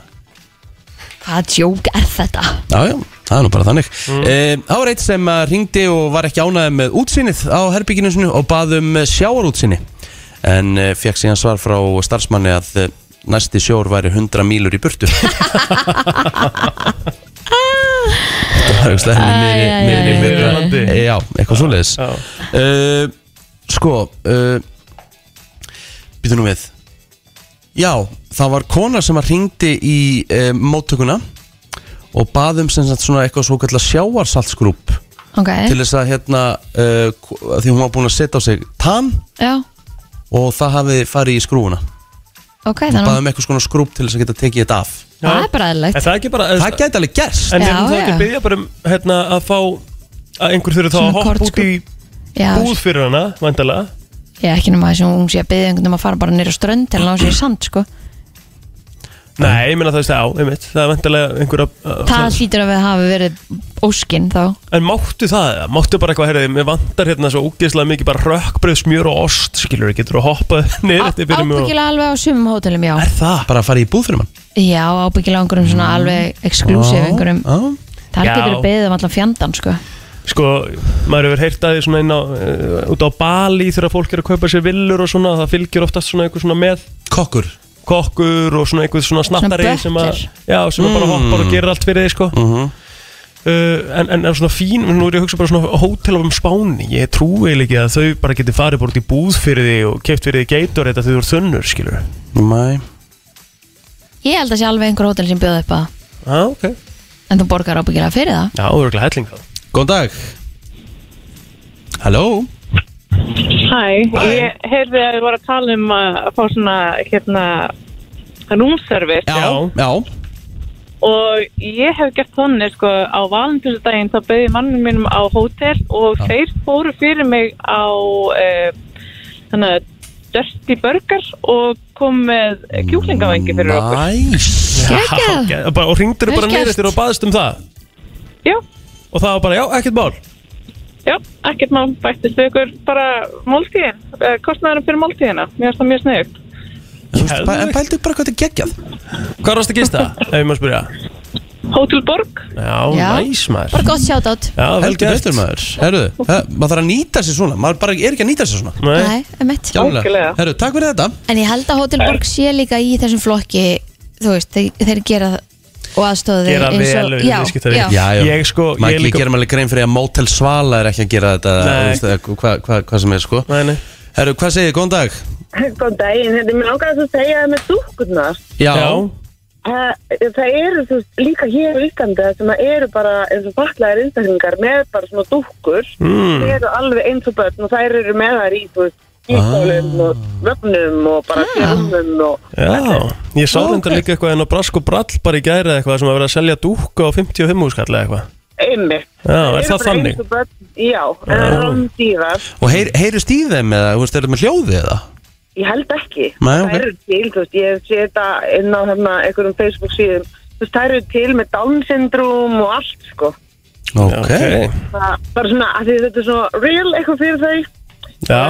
Hvaða djók er þetta? Já, já, það er nú bara þannig mm. Það var eitt sem ringdi og var ekki ánæði með útsýnið á herbygginu sinu og bað um sjáarútsýni en uh, fekk síðan svar frá starfsmanni að eh, næsti sjór væri 100 mílur í (laughs) burtu Þetta var Æ, æ, auðvitað æ, æ, henni miðri æ, æ. miðri miðri Já, eitthvað svoleiðis Já. uh, Sko uh, Býtum nú við Já, það var kona sem að ringdi í uh, móttökuna og baðum sem sagt svona eitthvað svo kallar sjáarsaltsgrúp Ok, til þess að hérna uh, k- að því hún var búin að setja á sig tann já, og það hafi farið í skrúuna ok, baðum þannig um eitthvað svona skrúp til þess að geta tekið þetta af Það er bara En aðlegt það er ekki bara... það gæti alveg gerst En Já, ég finnst það ekki já. að byggja bara um hérna, að fá að einhver þurfi þá Svona sko. að hoppa út í Já, búð fyrir hana, vandalega. ég er ekki nema þessum hún sé að byggja einhvern um að fara bara nýra strönd til að ná sér í sand, sko Nei, ég meina það veist á, einmitt, það er vandalega einhverja... eh, Það hlýtur að við hafi verið óskinn þá En máttu það, eða? máttu bara eitthvað, heyrðu, mér vantar hérna svo ógeðslega mikið bara rökkbröð, smjör og ost, skilur, getur að hoppa (laughs) niður eftir fyrir mig og... Ábyggilega alveg á sumum hótelum, já Er það? bara að fara í búð fyrir mann Já, ábyggilega á einhverjum svona alveg exclusive einhverjum Mm. Já, Það Já. getur beðið um allan fjandann, sko Sko, maður hefur heyrt að því eh, svona inn á, uh, út á Bali þegar fólk er að kaupa sér villur og svona, það fylgir oftast svona einhver svona með... já. kokkur kokkur og svona einhver svona snappari butler. sem að, já, sem að bara hoppar og gerir allt fyrir þig Mm. sko Mhm. uh, en, en, en svona fín, nú er ég að hugsa bara svona hótel um Spáni, ég trúi eiginlega ekki að þau bara geti farið bara út í búð fyrir þig og keft fyrir þig geitur þetta þau eru þunnur skilur Mæ Ég held að sé alveg einhver hótel sem bjóða upp að ah, ok, En þú borgar ábyggilega fyrir það já, örgulega helling þá Góðan dag Halló Hæ, ég heyrði að þið voru að tala um að að fá svona, hérna, rúmservice Já. Já og ég hef gert þannig, sko, á valendurstæðin þá bauði mannum mínum á hótel og þeir fóru fyrir mig á, uh, þannig að, Dirty Burger og kom með kjúklingavengi fyrir okkur. Næs Gekkað. (laughs) Já, ge- bara- og ringdur Vel bara niður gert. eftir og baðist um það Já, og það var bara, já, ekkert mál já, ekkert mál bættist við ykkur bara máltíðin, eh, kostnaðurinn fyrir máltíðina, mér finnst það mjög sniðugt. Þú veist, bæ- En bældu bara hvað þetta er geggjað hvað varst að gista, (laughs) ef ég má spyrja Hótel Borg, já, Já. næs maður Bara gott sjátátt já, vel Heldur gert betur maður Herru, he- maður þarf að nýta sér svona Maður bara er ekki að nýta sér svona Nei. Nei, um mitt Kjálega Algjörlega. Herru, takk fyrir þetta En ég held að Hotel Borg sé líka í þessum flokki Þú veist, þeir, þeir gera og aðstofa þeir Gera eins vel og- við já, viðskiptavini. já. Já, já. Ég sko- Maður ég ekki líka- gerum alveg grein fyrir að Motel Svala er ekki að gera þetta Nei. þú veist, eða Hvað hva, hva sem er sko Nei, nei. Herru, hvað segir, góðan dag Góðan daginn, hérna, mér langar að segja það með dúkkurnar. Já, já, Eh, Það eru þú veist, líka hér á Íslandi það sem að eru bara eins og fallegar einstaklingar með bara svona dúkkur. Mm. Það eru alveg eins og börn og þær eru með þær í, þú veist, Ah. ístólum og vöfnum og bara kjörnum og... já ég sá reyndar líka eitthvað en á Brask og Brall bara í gæri eða eitthvað sem að vera að selja dúka á 55 húskall eða eitthvað Einmitt. Já, Ah, er eru það bara þannig? Ah. eins og Börn, já, en það Já. er rándýrar. og heyr, heyrust í þeim eða, þú veist, er þetta með hljóði eða? Ég held ekki. Nei, ok. Það eru til, þú veist, ég hef séð þetta inn á hérna einhverjum Facebook síðum. Þú veist, það eru til með Down-syndrúm og allt, sko. Ok, bara bara svona að því þetta er svo real eitthvað fyrir þau já,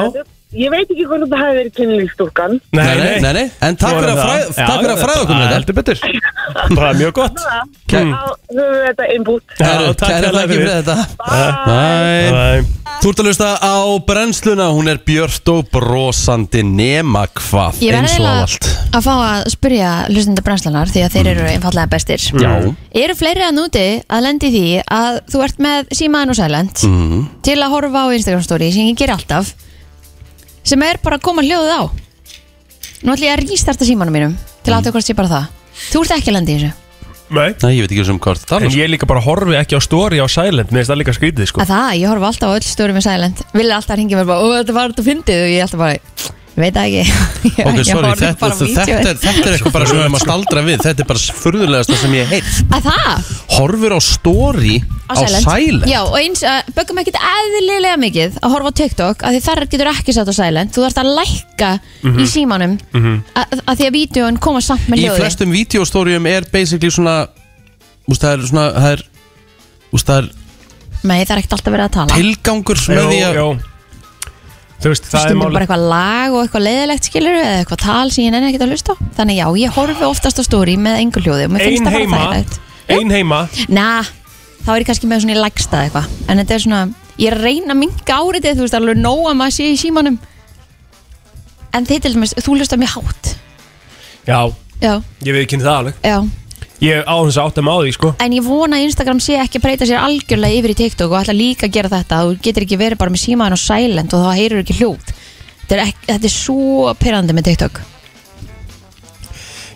ég veit ekki hvernig þetta hafi verið kynlífstúrkan Nei, nei, nei, nei. En takk fyrir að Svo er fræða- það. takk fyrir að Já, fræða okkur um já, þetta. heldur betur bara mjög gott þá Mm. höfum við þetta innbútt Herru, takk kæra hérlega þakki fyrir fyrir. þetta Bye. Bye. Þú ert að hlusta á brennsluna, hún er björt og brosandi nema hvað Ég verði eins og eiginlega allt að fá að spyrja hlustandi brennslanar því að Mm. þeir eru einfallega bestir Já. Eru fleiri að núti að lendi því að þú ert með símaðan og sælend Mhm. til að horfa á Instagram story sem ég ger alltaf sem er bara að koma hljóðið á Nú ætlum ég að rístarta símanum mínum til Mm. að átta hvort sé bara það Þú ert ekki að lendi þessu Nei. Nei, ég veit ekki sem hvað það En tala um ég líka bara horfi ekki á story á Silent Mér finnst það líka skrítið sko að það, ég horfa alltaf á öll stóri með Silent Vil alltaf að hringja mér bara, ó þetta var þetta fyndið og ég alltaf bara, ég veit það ekki (laughs) Ég- Ok, ég sorry, horfði þetta, bara á þetta, þetta, vídeóið. er- þetta er eitthvað bara sem við erum að staldra við Þetta er bara furðulegasta sem ég heilt að það, Horfur á story á silent. silent Já, og eins, uh, böggum ekkert eðlilega mikið að horfa á TikTok að því þar getur ekki satt á Silent þú þarfst að lækka í símanum mm að því að vídjón koma samt með Mhm. Í hljóði flestum vídeostórium er basically svona Úst, það er svona, það er Úst, það er Nei, það er ekkert alltaf verið að tala tilgangur Jú, með því að jú. Þú veist, það er stundum um bara máli eitthvað lag og eitthvað leiðilegt skilur eða eitthvað tal sem ég nenni ekkert að hlusta á. þannig já, ég horfi oftast á stóri með engu hljóði og mér finnst Ein það bara heima þægilegt Ein heima Na, þá er ég kannski með svona í lagstað eitthvað En þetta er svona, ég er að reyna að minga áriðið Þú veist, alveg nóg að maður sé í símanum En þið til dæmis, þú hlustar mér hátt Já, Já, ég veit ekki það alveg já Ég á þess að átta mig á því sko En ég vona að Instagram sé ekki að breyta sér algjörlega yfir í TikTok og ætla líka að gera þetta Þú getur ekki verið bara með símaðan og silent og þá heyrur ekki hljóð Þetta er, ekki, þetta er svo pyrrandi með TikTok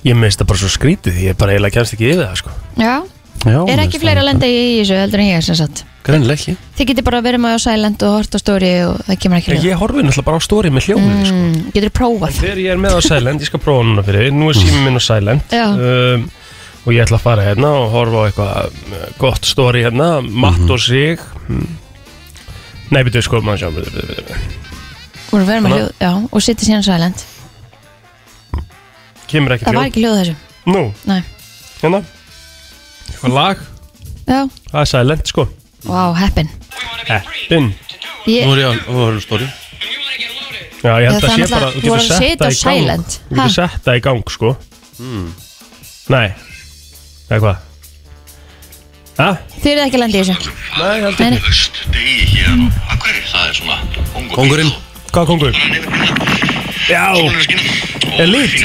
Ég minnst það bara svo skrítið Ég bara eiginlega kennst ekki yfir það sko Já, Já, er ekki fleiri að lenda í þessu heldur en ég sem sagt Greinlega ekki Þið getur bara verið með á silent og hort á story og það kemur ekki Ég, hljóð ég horfi náttúrulega bara á story með hljóðið sko mm, Getur prófað Þegar ég er með á Silent, ég skal prófa núna fyrir þig. Nú er síminn minn á Silent Já. um, Og ég ætla að fara hérna og horfa á eitthvað uh, gott story hérna Matt og sig mm. Nei, betur sko, maður sjá byrju, byrju, byrju, byrju. Voru verið með Þannig- hljóð, já, og sittir síðan silent Kemur ekki Það var hljóð ekki hljóð þessu, Nú, nei hérna Eitthvað lag, Já, það er Silent sko vá, heppin Eppin Nú Ég, er ég á horfur á story Já, ég held Það að sé er bara, náttúrulega- voru þú getur að sett setja það á í gang Silent. Þú getur Ha? sett það í gang sko Nei Eða hvað? Ha? þið eruð ekki að lenda í þessu Nei, ég held Nei, ekki nei, Degi hér á Akkurir, það er svona Kongurinn Hvað kongur? Já, Sólurinn skina Elite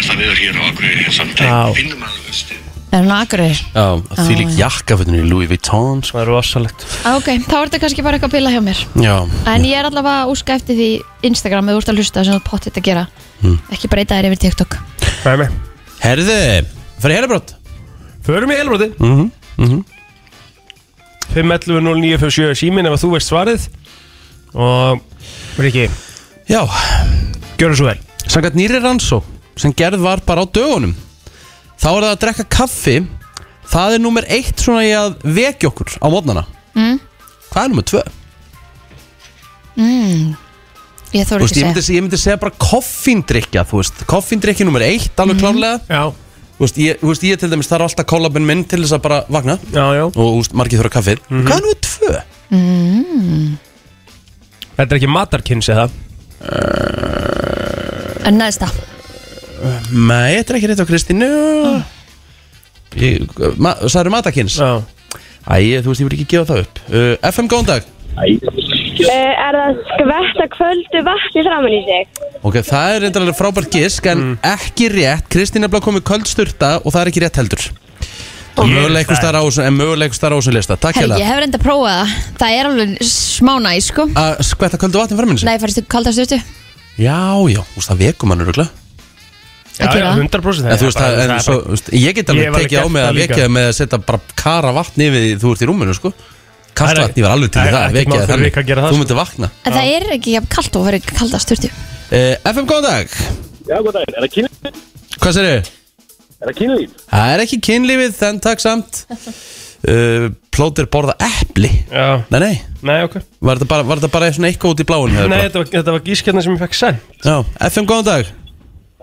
Já, Er hann á Akureyri? Já, því lík jakkafötun í Louis Vuitton sko. það er rosalegt Ah, ok, þá er þetta kannski bara eitthvað að bila hjá mér Já, En ég er allavega að úska eftir því Instagram eða úrst að hlusta sem þú pottitt að gera Ekki breyta þér yfir TikTok Það er mig herðu, fyrir herrabrott Förum í helbroti mm Mhm, -hmm. 511 0957 símin ef að þú veist svarið og Riki, Já, gjörðu svo vel sangat nýri rannsó sem gerð var bara á dögunum Þá er það að drekka kaffi Það er nummer eitt svona í að vekja okkur á mótnana Mm. Hvað er nummer tvö? mm. Ég Þú þóru veist, ekki ég að myndi, segja ég myndi segja bara koffindrykja, þú veist Koffindrykja nummer eitt, alveg klárlega Já, Þú veist, ég, þú veist, ég til dæmis þarf alltaf kollabinn minn til þess að bara vakna já, já og þú veist, margir þurfa kaffið Hvað er nummer tvö? Þetta er ekki matarkynns eða En neðsta Nei, þetta er ekki rétt á Kristínu Ah. Ég- ma, Særu matakins Já Æ, þú veist, ég vil ekki gefa það upp uh, FM, góðan dag Eh, Er það skvetta kvöldu vatni framann í sig? Ok, það er reyndar alveg frábært gisk En ekki rétt, Kristín er bara komið köld sturta Og það er ekki rétt heldur Og möguleikus þar á þessum En möguleikus þar á þessum lista, takk Herri, ég hérna hef reynda að prófa það Það er alveg smá næ, sko Að skvetta köldu vatni fram minni sig Nei, færstu kaldast öttu Já, já, þú veist, það vekum hann öruglega Já, gera já, það. 100% En þú veist, það, en svo, þú veist, ég get Ég alveg tekið á hef alveg gert mig það að líka. vekja þig með að setja bara kara vatni yfir því þú ert í rúminu, sko Það Kast er- vatni var alveg til í það er það, að ekkert vekja mál þig fyrir Ríkka að gera það, þannig Þú sko. myndir vakna En það er ekki jafn kalt og verið kaldast öttu Uh, FM, góðan dag Já, góð daginn, er það kynlíf? Hvað sér þau? Er það kynlíf? Það er ekki kynlífið, þenn takk samt uh, Plótir borða epli Já, Nei, nei, nei, ok var þetta bara, var þetta bara svona eitthvað út í bláinu? eða Nei, bara? þetta var, þetta var gískjarnar sem ég fekk send Já, FM, góðan dag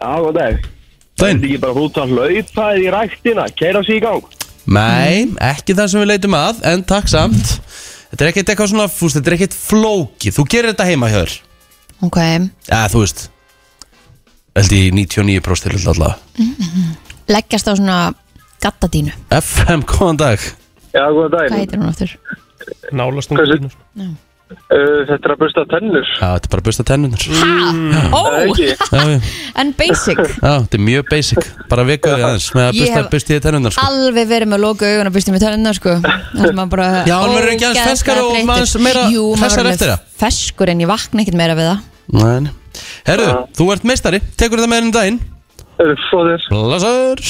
Já, góð dag. Er Dæn þetta ekki bara út að hlaupa í ræktina, keira sig í gang? Nei, ekki það sem við leitum að, en takk samt Þetta er ekkert eitthvað svona, fúst, þetta er ekkert flókið Þú gerir þetta heima hjá þér Ok, Já, þú veist Held í 99% til alltaf leggjast á svona gattadínu FM, góðan dag Já, góð Hvað heitir hún aftur? Nálast um Hversu- tíma Uh, þetta er að busta tennur. Já, þetta er bara að busta tennunar Já, Ha? Ó, Ekki? já, já, en (laughs) basic þetta er mjög basic Bara vekuð þig aðeins með að Ég busta, hef- busta í tennunar sko. alveg verið með að loka augun og busti með tölunna sko Það sem maður bara Já, hann verður ekki aðeins ógeðslega ferskari og þreyttur. maður aðeins meira Jú, maður hressari verður eftir með það. ferskur en ég vakna ekkert meira við það Nei, nei. Herðu, þú ert meistari, tekur þetta með henni daginn Er það svo þér? Blasar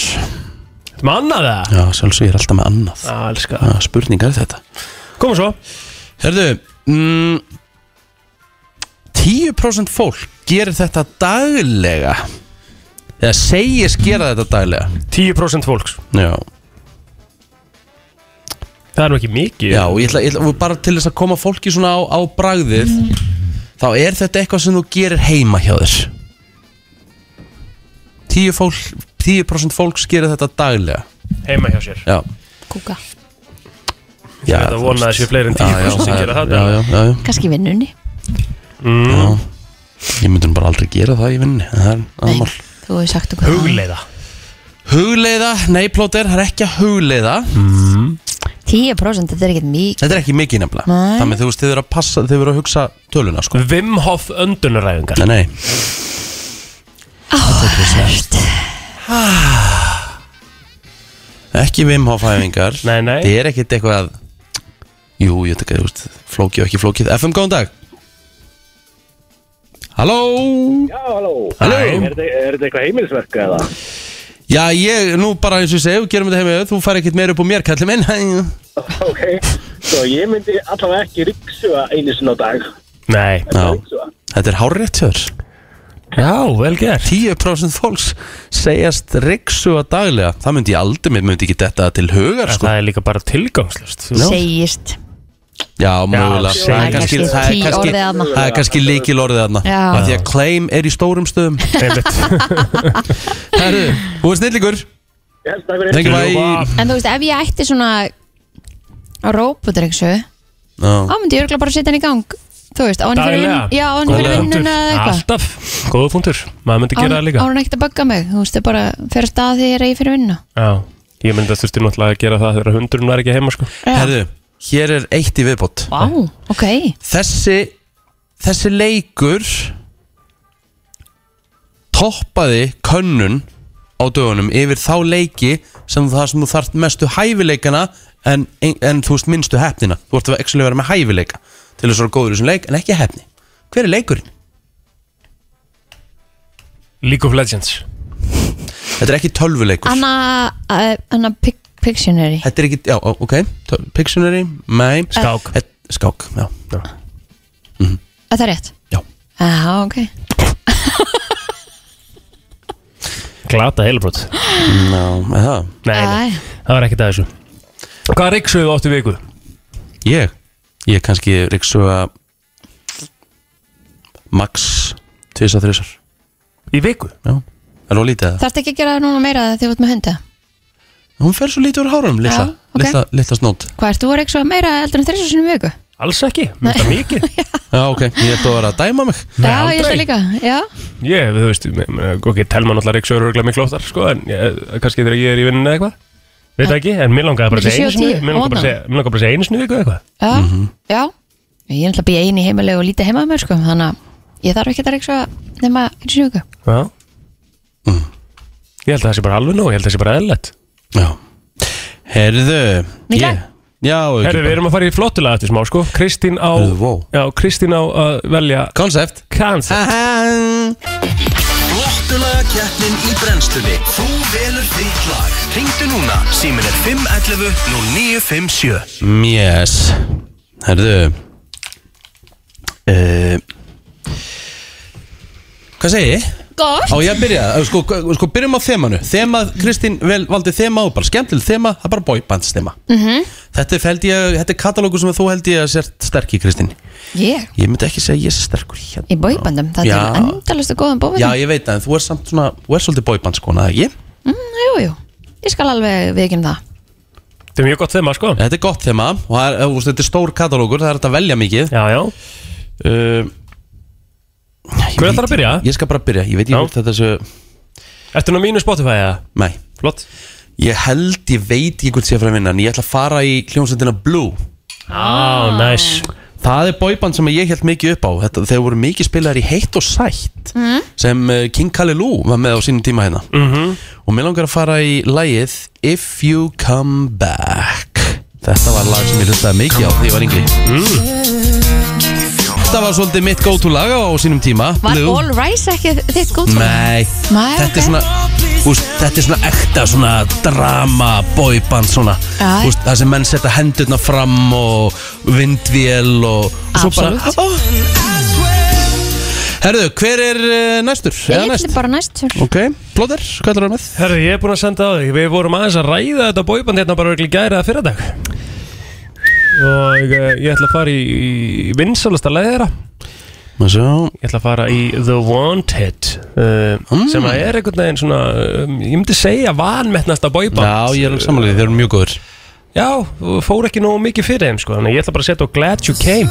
Manna það? Já, sjálfsög ég er alltaf með annað Já, elska Já, spurningar er þetta Komum svo Herðu, mm, 10% fólk gerir þetta daglega Eða segist gera þetta daglega 10% fólks Já, Það er nú ekki mikið Já og ég ætla, ég ætla, og bara til þess að koma fólki svona á, á bragðið Þá er þetta eitthvað sem þú gerir heima hjá þér 10% fólk, 10 fólks gerir þetta daglega Heima hjá sér Já Kúka, Já, Þetta þú vonaði veist. sér fleiri en Já, já, 10% sem það- gera það já, já, já, já. kannski í vinnunni já Ég myndi nú bara aldrei gera það í vinninni en Það er Nei, aðmál þú hefur sagt okkur Hugleiða Hugleiða, nei plóter, það er ekki að hugleiða Mm. 10% þetta er ekkert mikið Þetta er ekki mikið nefnilega Nei. Þannig þú veist, þið verður að passa, þið verður að hugsa töluna sko. Wim Hof öndunaræðingar Nei, nei Hört. Ah. Ekki Wim Hof hæfingar Nei, nei. Það er ekkit eitthvað Jú, ég tek að, þú veist, flókið og ekki flókið FM, góðan dag Halló Já, halló. Halló. Er þetta er þetta eitthvað heimilsverk eða? Já, ég, nú bara eins og ég segi, við gerum þetta heim Þú fær ekkit meira upp á mér, kallið minn Já, Ok. Svo ég myndi allavega ekki ryksuga einu sinna á dag. Nei Ryksuga. þetta er hárétt hjá þér Já, vel gert 10% fólks segjast riksu að daglega Það myndi ég aldrei, mér myndi ekki þetta til hugar sko. Það er líka bara tilgangslust Segist Já, mögulega segjast. Það er kannski, það er Tí kannski, orðið aðna. það er kannski líkil orðið þarna Já. Af Því að claim er í stórum stöðum Herru, þú er snillingur Já, takk fyrir. Thank you, bye En þú veist, ef ég ætti svona Róbudrengsu Þá Já. myndi ég örgulega bara setja hann í gang Þú veist, á hann fyrir Daglega. vinn- Já, á hann fyrir Góður punktur. vinnuna eða eitthvað Alltaf, góða punktur Maður Ah, myndi gera það líka Á hann ekkert að bögga mig Þú veist, það bara fer að stað þegar ég er fyrir vinnu Já Ég myndi að þurfti náttúrulega að gera það þegar hundurinn var ekki heima sko Herru, hér er eitt í viðbót Vá, ok Þessi, þessi leikur toppaði könnun á dögunum yfir þá leiki sem það sem þú þarft mestu hæfileikana en, en, en þú veist minnstu hefnina þú ert að actually vera með hæfileika til þess að vera góður í þessum leik en ekki hefni hver er leikurinn? League of Legends Þetta er ekki tölvuleikur Anna, uh, Anna Pic Pictionary Þetta er ekki, já, ó, ok töl- Pictionary, mæ Skák. Skák, já, já. Er það rétt? Já. Já, ok Glata heilbrot Ná, með það Nei, nei, Æ. það var ekkert að þessu Hvað reyksuðu áttu í viku? Ég, ég kannski ríksuga Max Tvisa, þrisar Í viku? Já, það er nú lítið það Þarftu ekki að gera núna meira þegar þú ert með hundi? Hún fer svo lítið úr hárum, litla, Já, ok. litla, litla snót Hvað ertu voru ekki svo meira eldur en þrissu sinni í viku? Alls ekki, mér finnst það (laughs) mikið Já, ok, ég ætti að vera að dæma mig Já, Nei, ég held aldrei. það líka Já, Ég, þú veist, me- me- ok, telma náttúrulega reyksuður örgulega miklu oftar, sko, en ég, kannski þegar ég er í vinnunni eða eitthvað Veit það ekki, en mér langaði bara að Milli segja sjö einu og sinni tíu, Mér langaði bara á að segja- mér langaði bara að segja einu sinni í viku eða eitthvað já, Mhm. já Ég er alltaf að býja einu í heimilegu og lítið heima með mér sko Þannig að ég þarf ekki að reyksa nema einu sinni í viku Já Mm. Ég held að það sé bara alveg nóg, ég held að það sé bara eðlætt Já Herðu Í dag? ég- Já, ekki Herru, við bara- erum að fara í flottulega eftir smá, sko Kristín á, Herðu, vó. já, Kristín á að velja Concept Kansa Flottulega keppnin í brennstunni Þú velur þitt lag Ringdu núna, símin er 511 0957 Yes Herðu uh, Hvað segi ég? Góð Á ég að byrja, Eh, sko, sko byrjum á þemanu Þemað, Kristín vel, valdi þema og bara skemmtileg þema, það er bara boybands þema -hmm. Þetta er, held ég, þetta er katalógu sem þú held ég að sért sterk í Kristín Ég, Ég myndi ekki segja ég sé sterkur hérna í bóibandum, það Já. er endalastu góðan bóibandum Já, ég veit það, en þú er samt svona, þú er svolítið boybands kona, eða ekki? mm, Jú, jú, ég skal alveg viðkynna það Þetta er mjög gott þema, sko Þetta er gott þema og það er, þú veist, þetta er stór katalógur, það er hægt að velja mikið Já, já, uh, Hver ætlar að byrja? Ég skal bara byrja, ég veit ekki Já. hvort þetta svo ertu nú á mínu Spotify, eða? Nei, Flott ég held, ég veit ekki hvort sé að fara að vinna En ég ætla að fara í hljómsveitina Blue Ah. Á, næs Það er boyband sem ég held mikið upp á Þetta, Þeir voru mikið spilaðar í heitt og sætt Sem eh, King Kali Lou var með á sínum tíma hérna -hmm. Og mér langar að fara í lagið If You Come Back Þetta var lag sem ég hlustaði mikið á því ég var yngri mm. Þetta var svolítið mitt go to lag á á sínum tíma Var Blue. All Rise ekki þitt góð Nei, Nei, þetta, er ok. svona, úst, þetta er svona ekta svona drama boyband svona Já. úst, Það sem menn setja hendurna fram og vindvél og, og svo bara Absolutt. oh. Herðu, hver er uh, næstur? Eða Ég næst? ætli bara næst svolítið. Ok, Plóter, hvað er það með? Herru, ég er búinn að senda á þig Við vorum aðeins að ræða þetta bóiband hérna bara örugglega í gæri eða fyrradag Og eh, ég ætla að fara í, í vinsalasta leið þeirra Ég Svo, ætla að fara í The Wanted uh, Mm. Sem að er einhvern veginn svona um, Ég myndi segja vanmetnasta bóiband já, ég er um samanlega, þeir eru mjög góður Já, og fór ekki nógu mikið fyrir þeim sko Þannig að ég ætla bara að setja á Glad You Came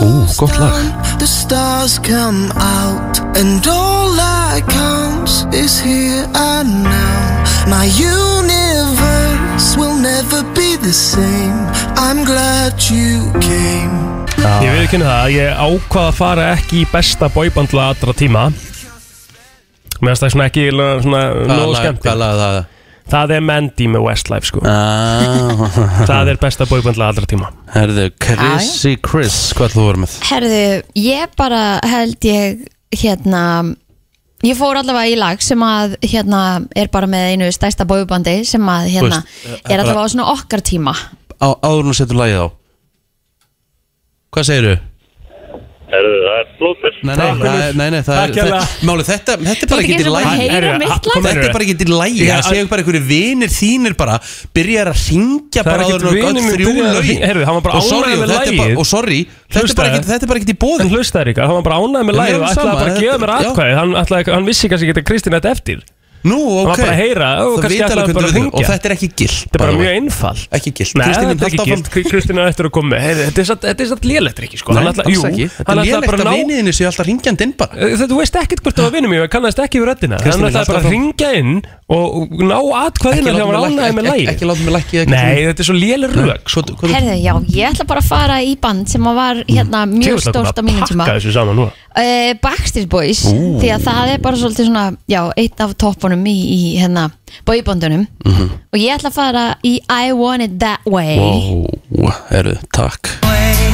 Ú, gott lag The stars come out, and all that counts is here and now. My universe will never be the same. I'm glad you came. Ég veit ekki það, ég ákvað að fara ekki í besta bóibandla allra tíma Mér finnst það svona ekki svona, Hvað nógu lag- skemmt Hvað lag er það? (laughs) Það er Mandy með Westlife sko Ah, Það er besta bóibandla allra tíma herðu, Chrissy Chris, hvað ætlaðu að vera með? Herðu, ég bara held ég hérna ég fór allavega í lag sem að hérna er bara með einu stærsta bójubandi sem að hérna eh, Þú veist, er allavega á svona okkar tíma á, áður hún setur lagið á Hvað segirðu? Nei, nei, Takk, nei, Unnur. nei, nei, það er Takk hérlega. þe- Máli, þetta, þetta er Þú bara ert ekki ekki í eins og bara að lagi hey- heyra Herðu, mitt kom lag með- Þetta er bara ekki í lagi, Já, það séu bara einhverju vinir þínir bara byrjar að ringja Það er bara ekkert áður en vinur öll minn þrjú byrjar að lögin hringja. Heyrðu, hann var bara Og sorry, ánægður og með þetta er bara- lagið. og sorry, þetta er bara Hlustaðu. ekki- þetta er bara ekki í bóði En hlustaður ykkar, hann var bara ánægð með En lagið mér og er ætlaði sama, bara að þetta- gefa mér já. atkvæði hann, ætlaði, hann vissi kannski ekki að Kristín ætti eftir Nú, ok var bara að heyra, ó, Það kannski vita alveg ætlaði bara að hvernig þetta er, hringja. Og þetta er ekki gilt Þetta er bara mjög einfalt Ekki gilt, Nei, Kristín þetta myndi er ekki halda áfram gilt Kri- Kristín er eftir að koma með Heyrðu, Þetta er satt- þetta er satt lélættir ekki sko Nei, Hann alls ætlaði- jú, ekki Þetta hann er ætlaði lélegt bara að að ná viniðinni séu alltaf ringjandi inn bara Þetta- Þú veist ekkert hvort það var vinur mér, ég kannaðist ekki við röddina Kristín er Hann ætlaði bara alltaf að ringja inn og ná atkvæðina þegar hann ánæði með ekki, lægið ekki láta mig lækki Nei, þetta er svo lélir rök svo, hvað er Herðu, já, ég ætla bara að fara í band sem að var hérna Mm, mjög stórt á mínum tíma Pakka þessu saman núna uh, Backstreet Boys því að það er bara svolítið svona já, eitt af toppunum í, í hérna bóibondunum Mhm. og ég ætla að fara í I Want It That Way Ó, herru, takk og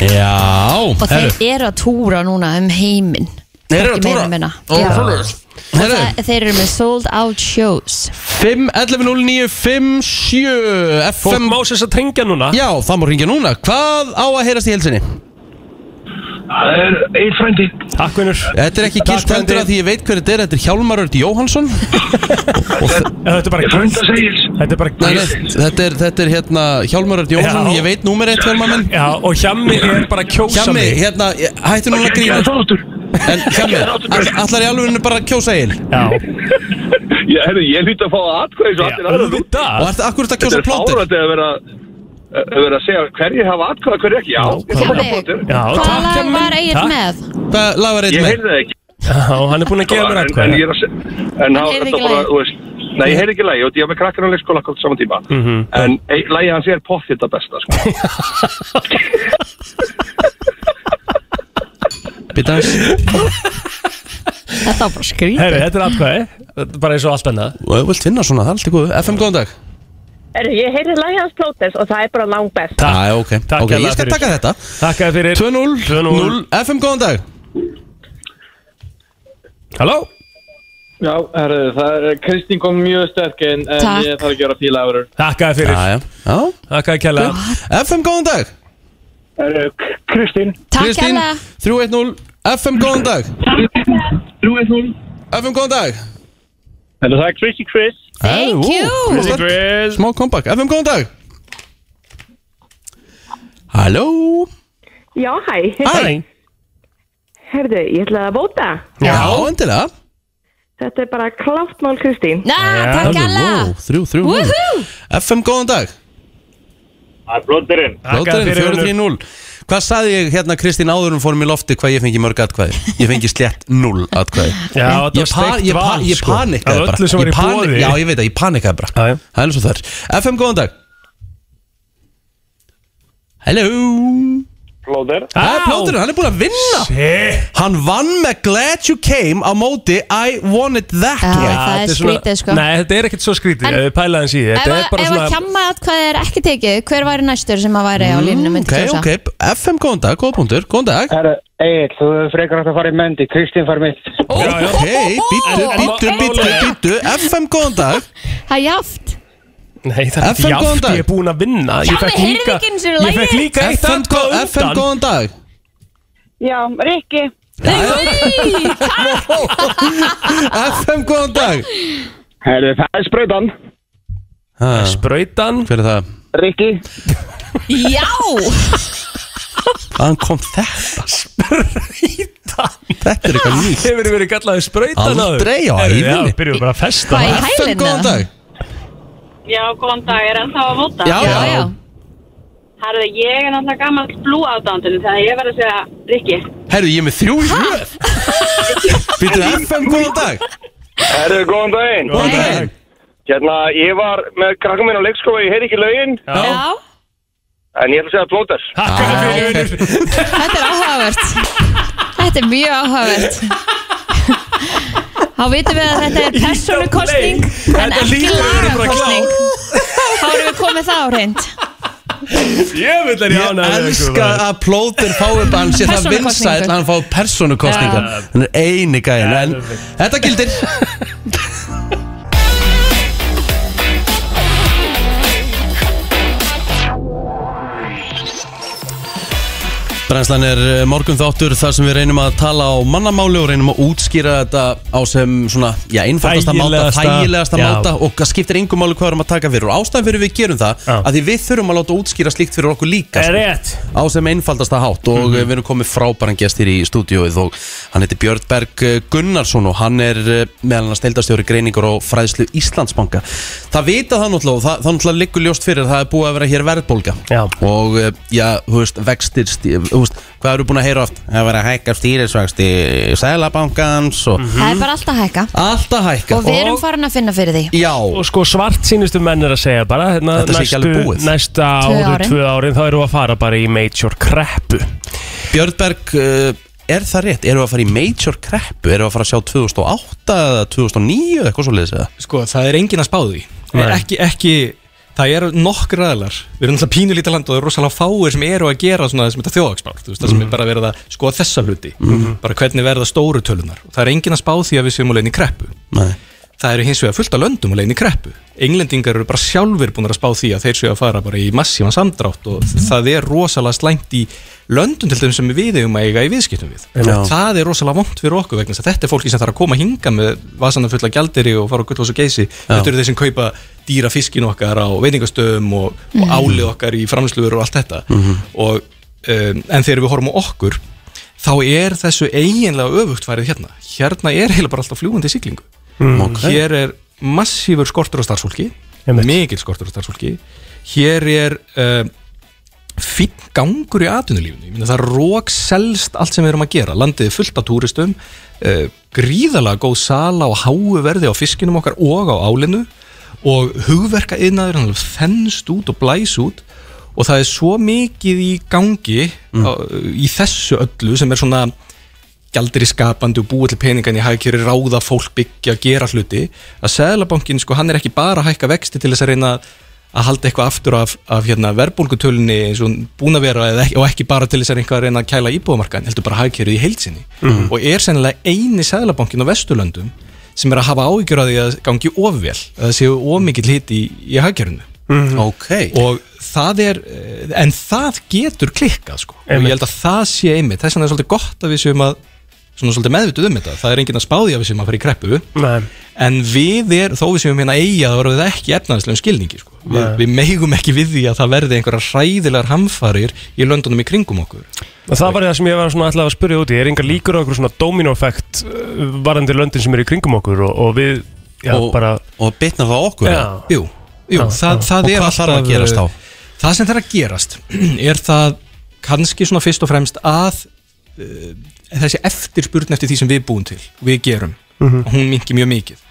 Já, herru þeir eru að túra núna um heiminn Þeir eru Ekki að meira en tóra minna. Já. Herru, Það- þeir eru með sold out shows 5 11 09 57 Fólk FM má sér að tengja núna Já, það má ringja núna Hvað á að heyrast í helsinni? Það er einn frendi. Takk vinnur Þetta er ekki Takk, gilt hendur frændi. að því ég veit hver þetta er Þetta er Hjálmar Örd Jóhansson Þetta er bara Frenda segils. Þetta er bara Nei, nei, þetta, er, þetta er hérna Hjálmar Örd Jóhansson Já. Ég veit númer eitt hjálmar minn Já, og hjammi er bara að kjósa Hjálmi, mig hérna, ég- hættu núna að grína þáttur. En Hjálmi, all- allar í alveginu bara að kjósa eigin Já, Ég, herri, ég hlýtt að fá atkvæði svo allir aðra. Og auðvitað ertu akkur þetta að Þetta kjósa er plótir fárandi að vera að vera að segja hverjir hafa atkvæða, hverjir ekki. Já, ég þarf að Hjálmi, bóttir. Já, hvað takk, lag Hjálmar. var eigin Takk. með? Hvað lag var eitt Ég með? heyrði það ekki. Já, hann er búinn að gefa En, mér en atkvæði ég er að segja, en hann heyrði er ekki bara, lagið. þú veist, nei, ég heyrði ekki lægi og ég var með krakkar á leikskóla akkur saman tíma. En lægi hans er pott þetta besta, sko. Býta aðeins Þetta var bara skrýt Herri, þetta er atkvæði Þetta er Bara eins og allt annað Og ef þú vilt finna svona, það er allt í góðu FM, góðan dag Ég heyrði lægi hans Plóters og það er bara langbest. Æ, Takk. Ah, ok, Takk ok, hérlega ég skal fyrir. taka þetta Takk að fyrir 2-0 0 FM, góðan dag Halló Já, herru, það er, Kristín kom mjög sterk en, en Takk. ég þarf ekki að gera fíla af hennar. Takk að fyrir Ah, Já, já, já Takk að kella FM, góðan dag Herru, Kristín. Takk Kristín, hella 3-1-0 FM, góðan dag 3-0. FM, góðan dag Herru, það er Kristín Chris. Thank Ó, you. hún var sterk. Chris. Smá comeback FM, góðan dag Halló Já, hæ. Hæ Herðu, ég ætla að bóta. Já, endilega Þetta er bara klátt mál Kristín. Ná, takk hella Þrjú, þrjú núll. Woohoo. FM, góðan dag Það er blóttirinn. Takk að Lóturinn, fyrir Unnur. 4-3-0 Hvað saði ég hérna Kristín áður um fórum í lofti hvað ég fengi mörg atkvæði? Ég fengi slett 0 atkvæði Já, Ég, þetta var pa, steikt ég, pa, val ég sko. panikaði Af bara öllu sem var Ég í pani- bóði Já, ég veit að ég panikaði bara Já, já. Það er eins og það er FM, góðan dag Hello Blóttir. Það er plóturinn, hann er búin að vinna Shit Hann vann með Glad You Came á móti I Wanted That Já, Way það er Þetta svona- skrítið sko Nei, þetta er ekkert svo skrítið En- Ef við pælaðum síði Ef Þetta er að- ef að bara svona hjamma hvað er ekki tekið Hver væri næstur sem að væri á línunum myndi Mm, Ok, kjósa? ok, FM, góðan dag, góða punktur, góðan dag Herru, Egil, þú frekar átt að fara í mendi, Kristín far mitt. Já, já. Ok, býttu, En- býttu, en- býttu, en- býttu FM, góðan dag Það er jaft Nei, það er FM, ekki góðan játt dag. Ég er búinn að vinna Já, Ég fekk við heyrðum líka ekki einu sinni Ég fekk lagið. líka eitt FM, atkvæði gó- FM, undan góðan dag Já, Rikki. FM, góðan dag Herru, það er sprautan. ha, Sprautan Hver er það? Rikki. Já Hvaðan kom þetta? Þetta er eitthvað nýtt Hefur verið kallaðið sprautan áður? Aldrei á Herri, ævinni. Já, byrjuðu bara að festa Hvað í FM, hælinn góðan eða? dag Já, góðan dag, ég er ennþá að móta. Já, Já, já Herðu, ég er náttúrulega gammal blú aðdándinu, þannig að ég verð að segja, Rikki, Herru, ég er með þrjú í hlöð (laughs) Býttu, FM, góðan dag Herru, góðan daginn. Góðan dag Hérna, ég var með krakkum minn á leikskóla, ég heyri ekki lögin, Já, Já, en ég ætla að segja blóttir. takk að fyrir ok. Unnur. þetta er áhugavert Þetta er mjög áhugavert Þá vitum við að þetta er persónukostning en Þetta ekki líka verið bara lagakostning Þá erum við komið það á reynd Ég vil er Ég elska að plóðir fái bara hann sé það vinsæll að hann fái persónukostningar Já. hann er eini gæðin en Já, perfekt. þetta gildir Brænslan er morgun þáttur þar sem við reynum að tala á mannamáli og reynum að útskýra þetta á sem svona, já, einfaldasta máta, Þægilegasta- þægilegasta Já. máta og það skiptir engum máli hvað við erum að taka fyrir og ástæðan fyrir við gerum það Já. að því við þurfum að láta útskýra slíkt fyrir okkur líka Er sko rétt Mhm. á sem einfaldasta hátt og eh, við erum komið frábæran gestir í stúdióið og hann heitir Björn Berg eh, Gunnarsson og hann er eh, meðal annars deildastjóri greiningur og fræðslu Íslandsbanka það vita það náttúrulega og það, það náttúrulega liggur ljóst fyrir að það er búið að vera hér verðbólga Já. og eh, já, þú veist, vextir, stíf, þú veist, hvað eru búin að heyra oft? Það var að hækka stýrisvægsti sælabankans og Mhm. Það er bara alltaf að hækka alltaf hækka Og við erum farin að finna fyrir því Já, Og sko svart sínustu menn er að segja bara hérna, Þetta sé ekki alveg búið. Næsta Tvö ári, árin. tvö árin Þá erum við að fara bara í major kreppu Björnberg, uh, er það rétt? Erum við að fara í major kreppu? Erum við að fara að sjá 2008 eða 2009 eða eitthvað svo leiðis eða? Sko, það er engin að spáði Nei. ekki, ekki, Það er nokkur aðlar Við erum alltaf pínulítið land og það er rosalega fáir sem eru að gera svona þessum þetta þjóðagsbár Það sem er bara verið að skoða þessa hluti Bara hvernig verða stóru tölunar Og það er engin að spá því að við séum á leiðin í kreppu Nei Það eru hins vegar fullt af löndum á leiðin í kreppu Englendingar eru bara sjálfur búin að spá því að þeir séu að fara bara í massíman samdrátt og það er rosalega slæmt í löndum til þeim sem við eigum að eiga í viðskiptum við Já. Það er rosalega vond fyrir okkur vegna þess að þetta er fólki sem þarf að koma hinga með vasana fulla gjaldiri og fara á gullhús og geysi Þetta eru þeir sem kaupa dýra fiskin okkar á veitingastöðum og, og álið okkar í framslöfur og allt þetta og, um, En þegar við horfum á okkur þá er þessu eiginlega öfugt farið hérna Hérna er heila bara alltaf fljúandi í siglingu Hér er massífur skortur á starfsfólki Einmitt. Mikil skortur á starfsfólki Hér er uh, fínn gangur í atvinnulífinu Ég meina, Það rók selst allt sem við erum að gera Landið er fullt af túristum uh, Gríðalega góð sala og háu verði á fiskinum okkar og á álinu Og hugverka yðnaður hann fennst út og blæs út Og það er svo mikið í gangi á, í þessu öllu sem er svona gjaldir í skapandi og búið til peningan í hagkjöri ráða fólk byggja, gera hluti að Seðlabankin, sko, hann er ekki bara að hækka vexti til þess að reyna að halda eitthvað aftur af, af hérna, verbólgutölunni eins og hún búin að vera eða ekki, og ekki bara til þess að einhver reyna að kæla íbúðamarkan heldur bara hagkjörið í heilsinni og er sennilega eini Seðlabankin á Vesturlöndum sem er að hafa áhyggjur að því að gangi ofvel að það séu ómikill hit í, í hagkjörinu Ok og það er eh, en það getur klikkað sko. og Einmitt. ég held að það sé einmitt þess vegna er svolítið gott að við séum að svona svolítið meðvituð um þetta, það er enginn að spáði að við séum að fara í kreppu Nei en við er, þó við séum hérna eiga þá erum við ekki efnaðislegum skilningi sko. við, Nei. við megum ekki við því að það verði einhverjar hræðilegar hamfarir í löndunum í kringum okkur Og það var það sem ég var svona alltaf að spyrja út í Er engar líkur á okkur svona domino-effekt uh, varandi löndin sem eru í kringum okkur og, og við, já, og, bara og bitnar það á okkur eða? Já, Jú, jú Já, það, já. það Og er hvað þarf að gerast þá? Það sem þarf að gerast (clears throat) er það kannski svona fyrst og fremst að uh, þessi eftirspurn eftir því sem við búum til, við gerum og hún minki mjög mikið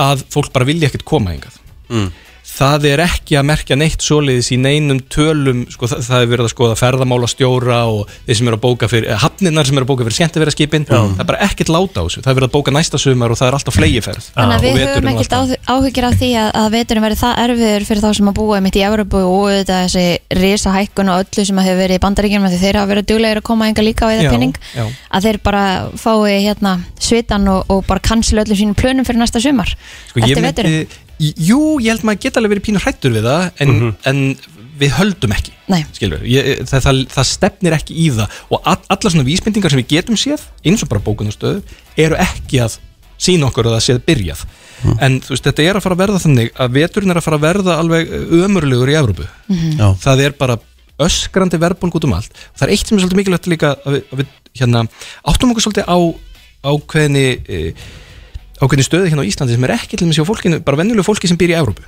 að fólk bara vilja ekkert koma hingað Mm. það er ekki að merkja neitt svoleiðis í neinum tölum sko, það, það er verið að skoða ferðamála stjóra og þeir sem eru að bóka fyrir, eh, hafnirnar sem eru að bóka fyrir skemmtivera það er bara ekkert láta á þessu, það er verið að bóka næsta sumar og það er alltaf flegiferð Þannig að Og við höfum veturinn og ekkert allt það. áhygg- áhyggjur af því að, að veturinn verður það erfiður fyrir þá sem að búa mitt í Evropu og þetta þessi risa hækkun og öllu sem að hefur verið í bandaríkjum því þeir hafa verið duglegir að koma enga líka á Já, eða penning já. að þeir bara fái hérna svitan og, og bara cancel öllum sínum plönum fyrir næsta sumar sko, ég eftir myndi, veturinn. Jú, ég held maður geta alveg verið pínur hrættur við það en, en við höldum ekki Nei. skilur, ég, það, það, það stefnir ekki í það og all, allar svona vísmyndingar sem við getum séð eins og bara bókunarstöðu eru ekki að sína okkur að það séð byrjað en þú veist, þetta er að fara að verða þannig að veturinn er að fara að verða alveg ömurlegur í Evrópu Já. það er bara öskrandi verðbólg út um allt það er eitt sem er svolítið mikilvægt líka að við, að við hérna, áttum okkur svolítið á ákveðinni e, ákveðinni stöðu hérna á Íslandi sem er ekki til þessi á fólkinu, bara venjulegu fólki sem býr í Evrópu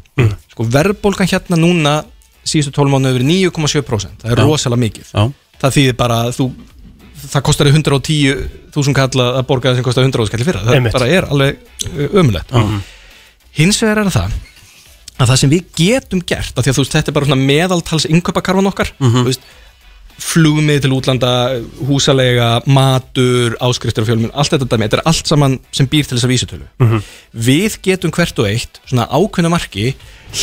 sko verðbólgan hérna núna síðustu 12 mánu yfir 9,7% það Já. er rosalega mikið Já. það þýðir bara að þú það kostar þig 110.000 kalla að borga það sem kostar 100.000 kalla fyrir það Einmitt. bara er alveg ömulegt hins vegar er það að það sem við getum gert af því að þú veist þetta er bara svona meðaltals inköpakarfan okkar þú veist flugmið til útlanda, húsalega matur, áskriftur og fjölmjön allt þetta dæmi, þetta er allt saman sem býr til þessa vísutölu Mhm. við getum hvert og eitt svona ákveðna marki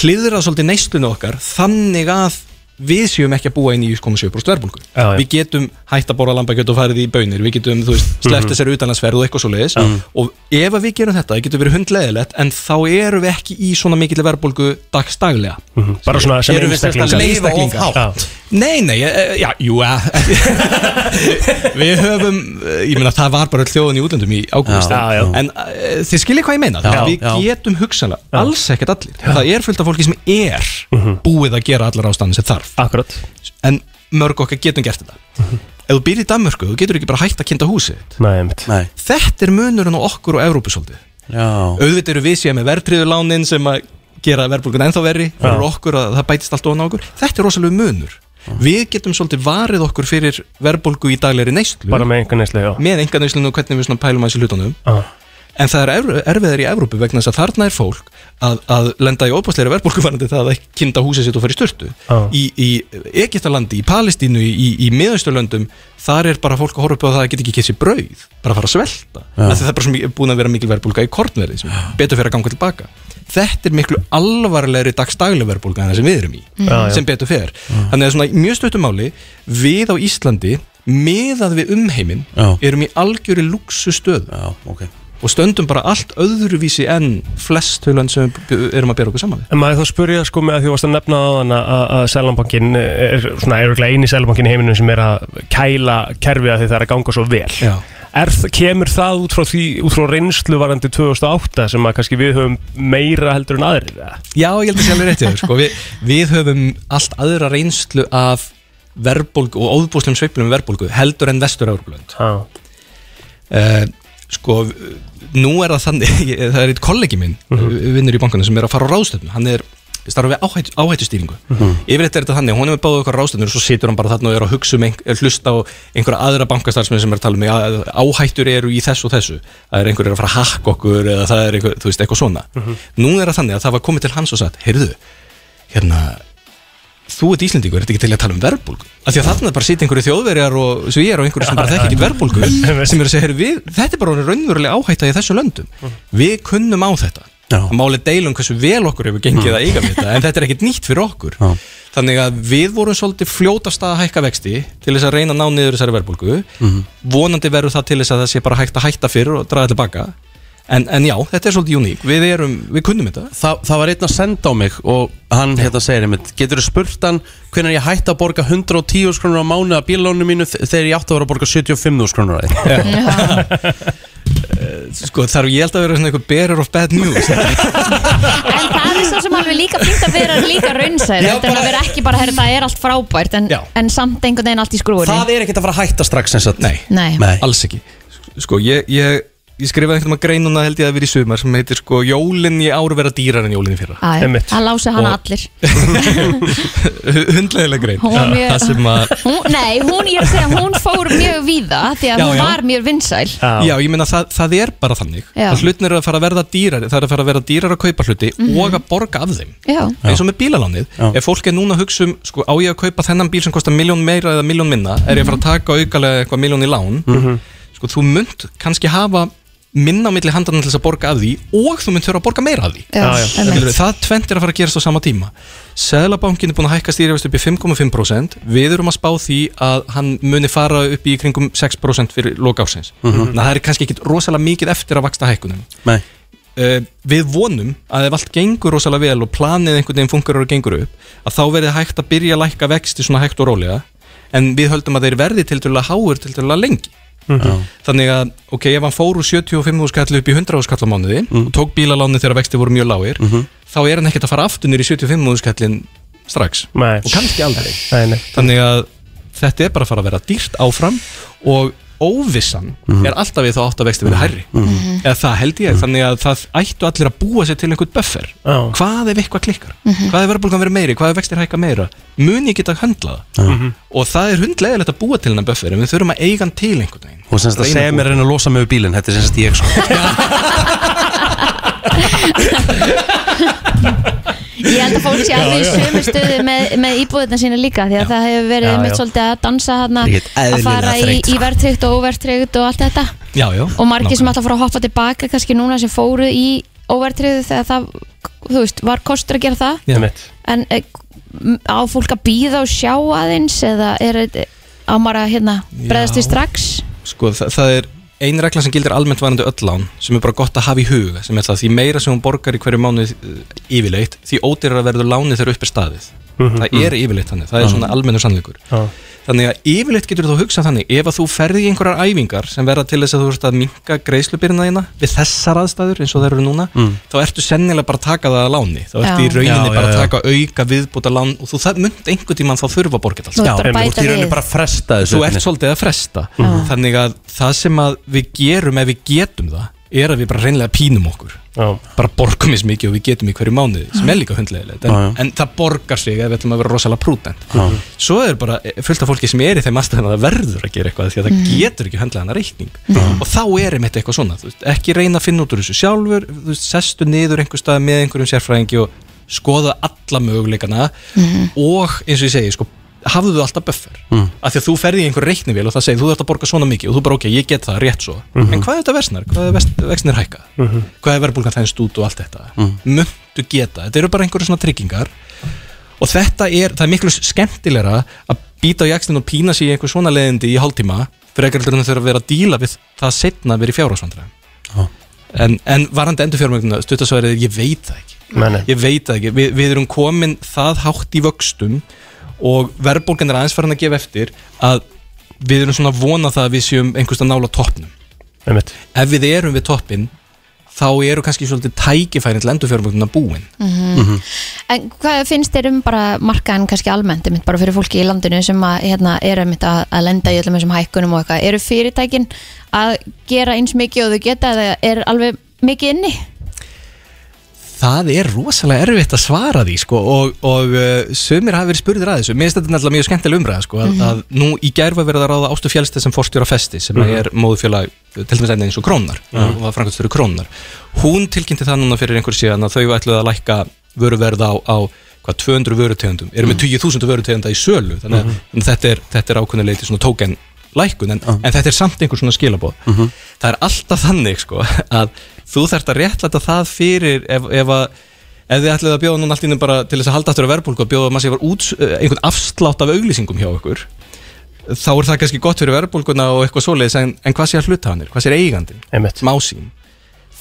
hliðrað svolítið neistlunni okkar þannig að við séum ekki að búa inn í 1,7% verbulgu Já, já. við getum hætt að borða lambakjöt og farið í bönir við getum, þú veist, Mhm. sleppt þessari utanlandsferð og eitthvað svo leiðis og ef að við gerum þetta, það getur verið hundleðilegt en þá erum við ekki í svona mikill verbulgu dagstaglega Mhm, bara svona sem Erum við sem sagt að einstaklingar leifa of hátt? Já. Nei, nei, eh, já, jú, (laughs) ja. við höfum, eh, ég meina það var bara öll þjóðin í útlöndum í ágúst, Já, já. en uh, þið skiljið hvað ég meina, Já, við já. Mhm. getum hugsanlega, alls ekkert allir, það er fullt af fólki sem er búið að gera allar ástæðan sem þarf, Akkurat en mörg okkar getum gert þetta. Mhm. Ef þú býr í Danmörku, þú getur ekki bara hægt að kynna húsið. þitt. Nei, einmitt Nei, Þetta er munurinn á okkur og Evrópusóldið já auðvitað eru við séð með verðtriðulánin sem að gera verðbólgun ennþá verri fyrir okkur að það bætist allt ofan á okkur þetta er rosalega munur Við getum svolítið varið okkur fyrir verðbólgu í daglegri neyslu Bara með einhvern neyslu, já Með einhvern neyslu og hvernig við svona pælum að þessi hlutunum ah. En það er erf- erfiðar í Evrópu vegna þess að þarna er fólk að, að lenda í óbúsleira verðbólgu varandi það að kynda húsið sitt og fara í sturtu Já. í, í Egiptalandi, í Palestínu, í, í miðausturlöndum þar er bara fólk að horfa upp á það að geta ekki kessi brauð bara að fara að svelta Já. af því það er bara svo mikið- búin að vera mikil verðbólga í kornverði sem betur fyrir að ganga tilbaka þetta er miklu alvarlegri dagstaglega verðbólga en það sem við erum í Mm. Já, já. sem betur fyrir þannig að svona í mjög stöttum máli við á Íslandi miðað við umheiminn erum í algjöri luxu stöðu já, okay. og stöndum bara allt öðruvísi en flest höland sem við erum að bera okkur saman við En maður þá spurja sko með að því þú varst að nefna á þann að að Sælambankin er svona eruglega eini Sælambankin í heiminum sem er að kæla kerfið að því það er að ganga svo vel Já. er, þ- Kemur það út frá, því, út frá reynslu varandi 2008 sem að kannski við höfum meira heldur en aðrir eða? Já, ég held að sé alveg rétt hjá þér, sko. Vi, Við höfum allt aðra reynslu af verðbólgu og óðbúslum sveiflum verðbólgu heldur en vestur Európlönd uh, Sko, nú er það þannig (laughs) ég, það er eitt kollegi minn, mm vinnur í bankanum sem er að fara á ráðstöfnu, hann er starfa við áhætt, áhættustýringu Mhm. Yfirleitt er þetta þannig, hún er með báðu okkar ráðstöfnur og svo situr hann bara þarna og er að hugsa um ein, er hlusta á einhverja aðra bankastarfsmenn sem er að tala um að áhættur eru í þess og þessu það er einhverjir að fara að hakka okkur eða það er einhver, þú veist, eitthvað svona Nú er það þannig að það var komið til hans og sagt Heyrðu, hérna Þú ert Íslendingur, ert ekki til að tala um verðbólgu Af því að þarna bara sitja einhverju þjóðverjar og svíjar og einhverju sem bara þekki ekki verðbólgu sem er að segja, heyrðu, við, þetta er bara orðin raunverulega áhætta í þessu löndum Við kunnum á þetta Það máli deilum hversu vel okkur hefur gengið að eiga við þetta en þetta er ekkit nýtt fyrir okkur Þannig að við vorum svolítið fljótast að hækka vexti til þess að reyna að ná niður þessari verðbólgu Mhm. vonandi verður það til þess að það sé bara hægt að hætta fyrir og draga tilbaka en, en já, þetta er svolítið uník, við erum, við kunnum þetta Þa, það var einn að senda á mig og hann hérna segir einmitt Getur þú spurt hann hvernig ég hætti að borga 110 skrónur á mánu að bílónu mínu þ- þegar ég átti að vera að borga 75 skrónur að því Sko þarf ég held að vera svona eitthvað bearer of bad (laughs) news En það er svo sem alveg líka fínt að vera líka raunsæður Já, Þetta er að vera ekki bara, herra, það er allt frábært en, en samt einhvern veginn allt í skrúinu Það er ekkert að fara að hætta strax eins og Nei, Nei. alls ekki Sko ég, ég, ég skrifaði einhvern veginn að grein núna held ég að vera í sumar sem heitir sko Jólin í ár vera dýrar en jólin í fyrra Æ, Það lási hana allir Hundlegilega grein Hún var mjög- Það sem að hún, Nei, hún, ég er að segja, hún fór mjög víða Því að Já, hún já. var mjög vinsæl Já, ég meina það, það er bara þannig Já. að hlutin eru að fara að verða dýrar það er að fara að verða dýrar að kaupa hluti Mhm. og að borga af þeim Já. eins og með bílalánið, ef fólk er núna að hugsa um sko, á ég að kaupa þennan bíl sem kostar miljón meira eða miljón minna, er ég að fara að taka aukalega eitthvað miljón í lán sko, þú munt kannski hafa minna á milli handan til þess að borga af því og þú munt þurfa að borga meira af því Já, já. Skilurðu, einmitt. það tvent er að fara að gerast á sama tíma Seðlabankin er búin að hækka stýrifast upp í 5,5% við erum að spá því að hann muni fara upp í kringum 6% fyrir loka ásins Mhm. það er kannski ekki rosalega mikið eftir að vaksta hækkunum Nei. Eh, við vonum að ef allt gengur rosalega vel og planið einhvern veginn funkar og gengur upp að þá verði hægt að byrja að lækka vexti svona hægt og rólega en við höldum að þeir verði til dæla háur til dæla lengi Já. þannig að ok, ef hann fór úr 75 skall upp í 100 skall á mánuði og tók bílaláni þegar vexti voru mjög lágir þá er hann ekkert að fara aftur nýr í 75 skallin strax Nei. og kannski aldrei Nei, nei. þannig að þetta er bara að fara að vera dýrt áfram og óvissan er alltaf við þá átt að vexti verið hærri Mhm. eða það held ég, þannig að það ættu allir að búa sér til einhvern buffer hvað ef eitthvað klikkar, Mhm. hvað ef verðbólgan verið meiri hvað ef vextir hækka meira, mun ég geta að höndla það Mhm. og það er hundlegilegt að búa til hennar buffer en við þurfum að eiga hann til einhvern veginn Hún semst að Reyna segja að mér að reyna að losa mig við bílinn Þetta er semst ég sko Ég held að fólk sé alveg í Já, já. sömu stöðu með, með íbúðina sína líka Því að það hefur verið Já, mitt já. svolítið að dansa hana Ég get Að eðlilega fara í, þreytt, í verðtrygt og óverðtrygt og allt þetta já, já, og margir sem ætla að fara að hoppa tilbaka kannski núna sem fóru í óvertriðu þegar það, þú veist, var kostur að gera það Já. en eh, m- á fólk að býða og sjá aðeins eða er eh, á maður að hérna breðast því Já. strax sko, það, það er ein regla sem gildir almennt varandi öll lán sem er bara gott að hafa í huga sem er það því meira sem hún borgar í hverju mánuð eh, yfirleitt því ódýrar að verður lánið þegar upp er staðið Mhm. það er yfirleitt þannig, það er svona Mhm. almennur sannleikur Já. þannig að yfirleitt getur þú hugsað þannig ef að þú ferði í einhverjar æfingar sem verða til þess að þú ert að minka greiðslubyrna þína við þessar aðstæður eins og það eru núna Mm. þá ertu sennilega bara að taka það að láni þá Já. ertu í rauninni Já, bara já, að já. taka auka viðbúta lán og þú það mynd einhvern tímann þá þurfa að borga þetta Þú allt. ert að Já, bæta þú ert í rauninni við. bara að fresta þessu sko. einhvern þú ert veginn. svolítið að fresta Mhm. þannig að það sem að við gerum ef við getum það er að við bara reynlega pínum okkur Já. bara borgum eins mikið og við getum í hverju mánuði sem er líka hundlegilegt en, Já, já. en það borgar sig að við ætlum að vera rosalega prúdent Já. sko- Mm. svo er bara fullt af fólki sem er í þeim aðstæðan að það verður að gera eitthvað því að það Mhm. getur ekki höndlega hana reikning og þá er einmitt eitthvað svona þú veist, ekki reyna að finna út úr þessu sjálfur þú veist, sestu niður einhver stað með einhverjum sérfræðingi og skoða alla möguleikana og eins og ég segi sko, hafðu þú alltaf buffer Mm. af því að þú ferði í einhver reiknivél og það segir þú þarf að borga svona mikið og þú bara ok, ég get það rétt svo Mhm. en hvað er þetta versnar, hvað er vest- vexnir hækka Mhm. hvað er verðbólgan þennst út og allt þetta mm. muntu geta, þetta eru bara einhverju svona tryggingar og þetta er, það er miklu skemmtilegra að býta á jakstin og pína sig í einhver svona leiðindi í hálftíma fyrir ekkert en þau eru að vera að díla við það setna að vera í fjárhásvandra en, en varandi endurfjármögnuna stuttasverið, ég veit það ekki Meni. ég veit það ekki, Vi, við erum komin það hátt í vöxtum og verðbólgan er aðeins farin að gefa eftir að við erum svona að vona það að við séum einhversta nála toppnum Einmitt. ef við erum við toppin þá eru kannski svolítið tækifærin til endurfjármögnuna búin Mhm. En hvað finnst þér um bara markaðan kannski almennt, einmitt bara fyrir fólki í landinu sem að, hérna, er einmitt að, að lenda í öllum þessum hækkunum og eitthvað, eru fyrirtækin að gera eins mikið og þau geta eða er alveg mikið inni? Það er rosalega erfitt að svara því sko, og, og uh, sömur hafi verið spurðir að þessu Mér finnst þetta náttúrulega mjög skemmtileg umræða sko, að, Mhm. að nú í gær var verið að ráða Ástu Fjálsteð sem forstjóra festi sem Mhm. er móðufjöla til dæmis enn eins og Krónar Mhm. og var framkvæmstur Krónar Hún tilkynnti það núna fyrir einhver síðan að þau ætluðu að lækka vöruverð á, á hvað 200 vörutegundum eru með 20.000 vörutegunda í sölu þannig að Mhm. mm. þetta er, þetta er ákunnuleiti svona tóken lækun en, en þetta er samt einhver svona skilabóð það er alltaf þannig sko að þú þarft að réttlæta það fyrir ef, ef að ef þið ætluðu að bjóða núna allt innum bara til þess að halda aftur að verðbólku að bjóða að maður sé var út, eh, einhvern afslátt af auglýsingum hjá okkur þá er það kannski gott fyrir verðbólkuna og eitthvað svoleiðis en, en hvað sé að hlutahanir, hvað sé eigandin másín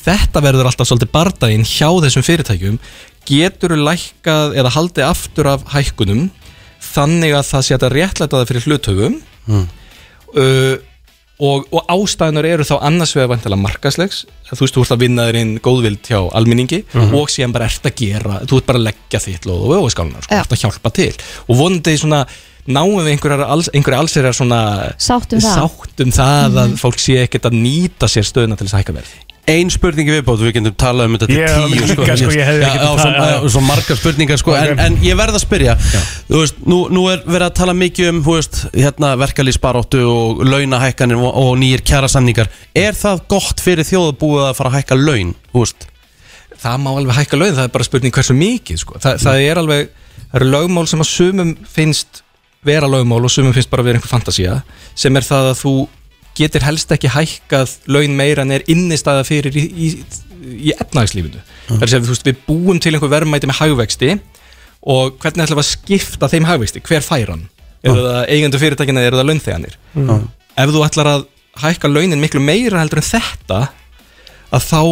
þetta verður alltaf svolítið bardaginn hjá þessum fyrirtækjum getur lækkað eða haldið aftur af hækkunum þannig að það sé hægt að réttlæta það fyrir hluthöfum Mm. uh, og, og ástæðunar eru þá annars vegar vantilega markaslegs þú veist, þú ert að vinna þér inn góðvild hjá almenningi Mhm. og síðan bara ert að gera þú ert bara að leggja þitt loð og öfuskálunar sko, Já. ert að hjálpa til og vonandi svona náum við einhverjar alls, einhverjar allsherjar svona Sátt um það. Mhm. sátt um það að fólk sé ekkert að nýta sér stöðuna til þess að hækka verð Ein spurning í viðbót, við getum talað um þetta til Ég tíu líka, sko, ég hefði Já, ekki já, talað- svo, já, svo margar spurningar sko, en, en ég verð að spyrja Þú veist, nú, nú er verið að tala mikið um þú veist, hérna, verkalýsbaróttu og launahækkanir og, og nýjir kjærasamningar Er það gott fyrir þjóðabúið að fara að hækka laun? Þú veist? það má alveg hækka laun, það er bara spurning hversu mikið sko. Þa, það er alveg, það eru lögmál sem að sumum finnst vera lögmál og sumum finnst bara vera einhver fantasía sem er það að þú getur helst ekki hækkað laun meira en er innistæða fyrir í, í, í efnagslífinu það er sem þú veist, við búum til einhver verðmæti með hagvexti og hvernig ætlum við að skipta þeim hagvexti, hver fær hann eru það eigendur fyrirtækina eða eru það launþeganir Mm. ef þú ætlar að hækka launin miklu meira heldur en þetta að þá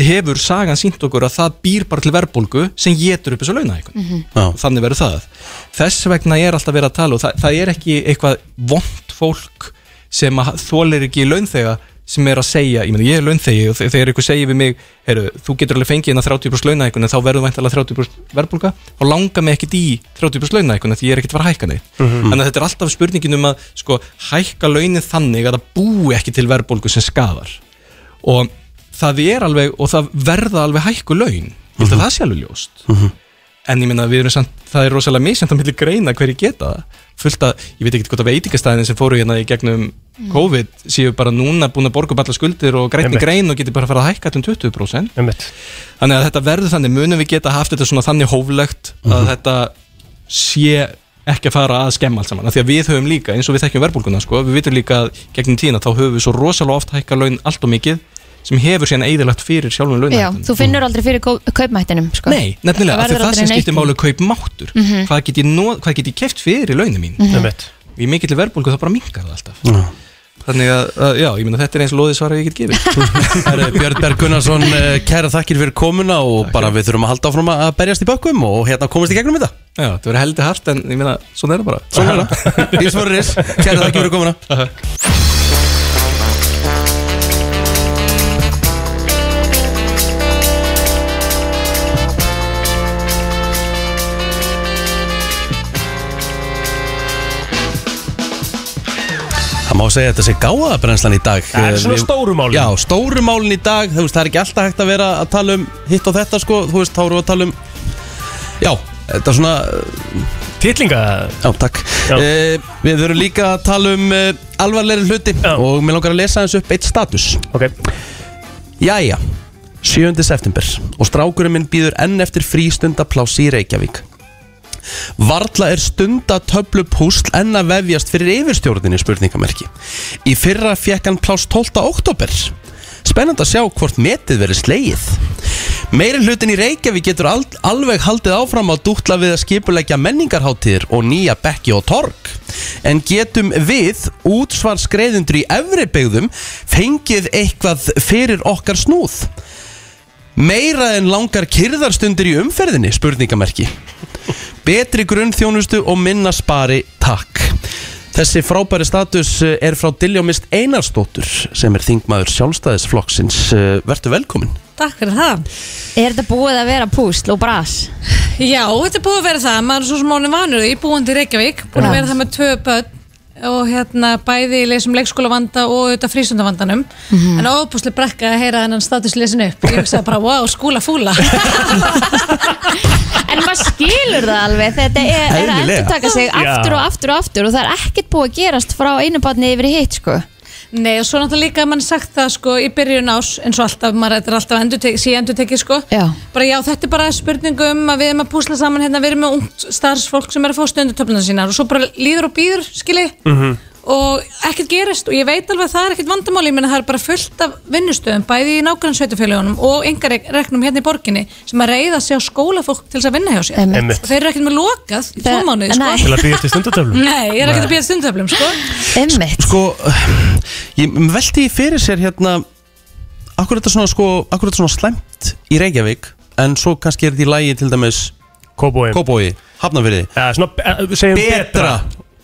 hefur sagan sínt okkur að það býr bara til verðbólgu sem getur upp þessu launahækun Mhm. Já. þannig verður það þess vegna er alltaf verið að tala og það, það er ekki eitthvað vond fólk sem að þólir ekki launþega sem er að segja, ég meina ég er launþegi og þe- þegar einhver segir við mig, heyrðu, þú getur alveg fengið hérna 30% launahækun en þá verður væntalega 30% verðbólga og langar mig ekkit í 30% launahækun því ég er ekkit að fara að hækka neitt Mhm. þannig að þetta er alltaf spurningin um að sko, hækka launin þannig að það búi ekki til verðbólgu sem skadar og það er alveg og það verða alveg hækku laun ég held að það sé alveg ljóst en ég minna við erum samt, það er rosalega misjönd að milli greina hverju geta það fullt að, ég veit ekki hvort að veitingastæðin sem fóru hérna í gegnum Mm. COVID séu bara núna búin að borga upp alla skuldir og grætni Einmitt. grein og geti bara að fara að hækka um 20% Einmitt. þannig að þetta verður þannig, munum við geta haft þetta svona þannig hóflegt að Mhm. þetta sé ekki að fara að skemma allt saman, af því að við höfum líka eins og við þekkjum verðbólguna, sko, við vitum líka að gegnum tíðina þá höfum við svo rosalega oft hækka laun allt og mikið sem hefur síðan eðilagt fyrir sjálfum launahækkunum. Já, þú finnur aldrei fyrir kau- kaupmættinum sko. Nei, nefnilega, af því það sem skiptir máli kaupmáttur mm Mhm. hvað, get ég no, hvað get ég keft fyrir launin mín Mhm. Í mikill verðbólgu þá bara mingar það alltaf Já. Þannig að, að já, ég meina þetta er eins loðið svara ég get (laughs) gefið Herru, Björn Berg Gunnarsson, eh, kæra þakkir fyrir komuna og bara við þurfum að halda áfram að berjast í bökkum og hérna komast í gegnum þetta Já, þetta verður heldur hart en ég meina, svona er það bara Svona er (laughs) það, því sem voru reys Kæra þakkir fyrir komuna Það má má segja að þetta sé gáðabrennslan í dag Það er svona Við- stóru málin. Já, stóru málin í dag, þú veist, það er ekki alltaf hægt að vera að tala um hitt og þetta sko, þú veist, þá erum við að tala um Já, þetta er svona Tittlinga Já, takk Eh, Við þurfum líka að tala um uh, alvarlegri hluti og mér langar að lesa hans upp eitt status Ok Jæja, 7. september og strákurinn minn býður enn eftir frístundaplási í Reykjavík Varla er stundatöflu púsl enn að vefjast fyrir yfirstjórninni spurningamerki. Í fyrra fekk hann pláss 12. oktober. Spennand að sjá hvort metið verið slegið. Meiri hlutin í Reykjavík getur al alveg haldið áfram að dútla við að skipuleggja menningarháttíðir og nýja bekki og torg. En getum við, útsvarsgreðundur í efri byggðum, fengið eitthvað fyrir okkar snúð? Meira en langar kyrðarstundir í umferðinni, spurningamerki. Betri grunnþjónustu og minna spari, takk. Þessi frábæri status eh, er frá Diljomist Einarsdóttur sem er þingmaður sjálfstæðisflokksins. Eh, Vertu velkomin. Takk fyrir það. Er þetta búið að vera púsl og bras? Já, þetta er búið að vera það, maður er svo smónum vanur því, búandi í Reykjavík, búin að Já. vera það með tvö börn og hérna bæði í leysum leikskólavanda og auðvitað frístundavandanum Mhm. en óbúslega brekka að heyra þennan status lesin upp ég hugsaði bara, wow, skúla fúla En maður skilur það alveg þetta er, er að Eðlilega. endur taka sig Já. aftur og aftur og aftur og það er ekkert búið að gerast frá einu barni yfir í hitt sko Nei, og svo náttúrulega líka að mann sagt það sko í byrjun ás, eins og alltaf, maður þetta er alltaf endurtek, síendurtekið sko. Já. Bara já, þetta er bara spurningu um að við erum að púsla saman hérna, við erum með ungt starfsfólk sem er að fá stundutöfluna sínar og svo bara líður og býður, skili, Mhm. og ekkert gerist og ég veit alveg að það er ekkert vandamál, ég menna það er bara fullt af vinnustöðum, bæði í nákvæmlega sveitufélagunum og yngar reknum hérna í borginni sem að reyða sig á skólafólk til þess að vinna hjá sér. Einmitt. Einmitt. Og þeir eru ekkert með lokað í tvo mánuði, sko. Til að býja til stundatöflum Nei, ég er ekkert að býja stundutöflum, sko. Einmitt. Sko, ég veldi í fyrir sér hérna, akkur þetta svona, sko, akkur þetta svona slæmt í Reykjavík, en svo kannski er þetta í lægi til dæmis Kóbói, Kóbói Hafnafyrði. Ja, svona, eh, segjum betra.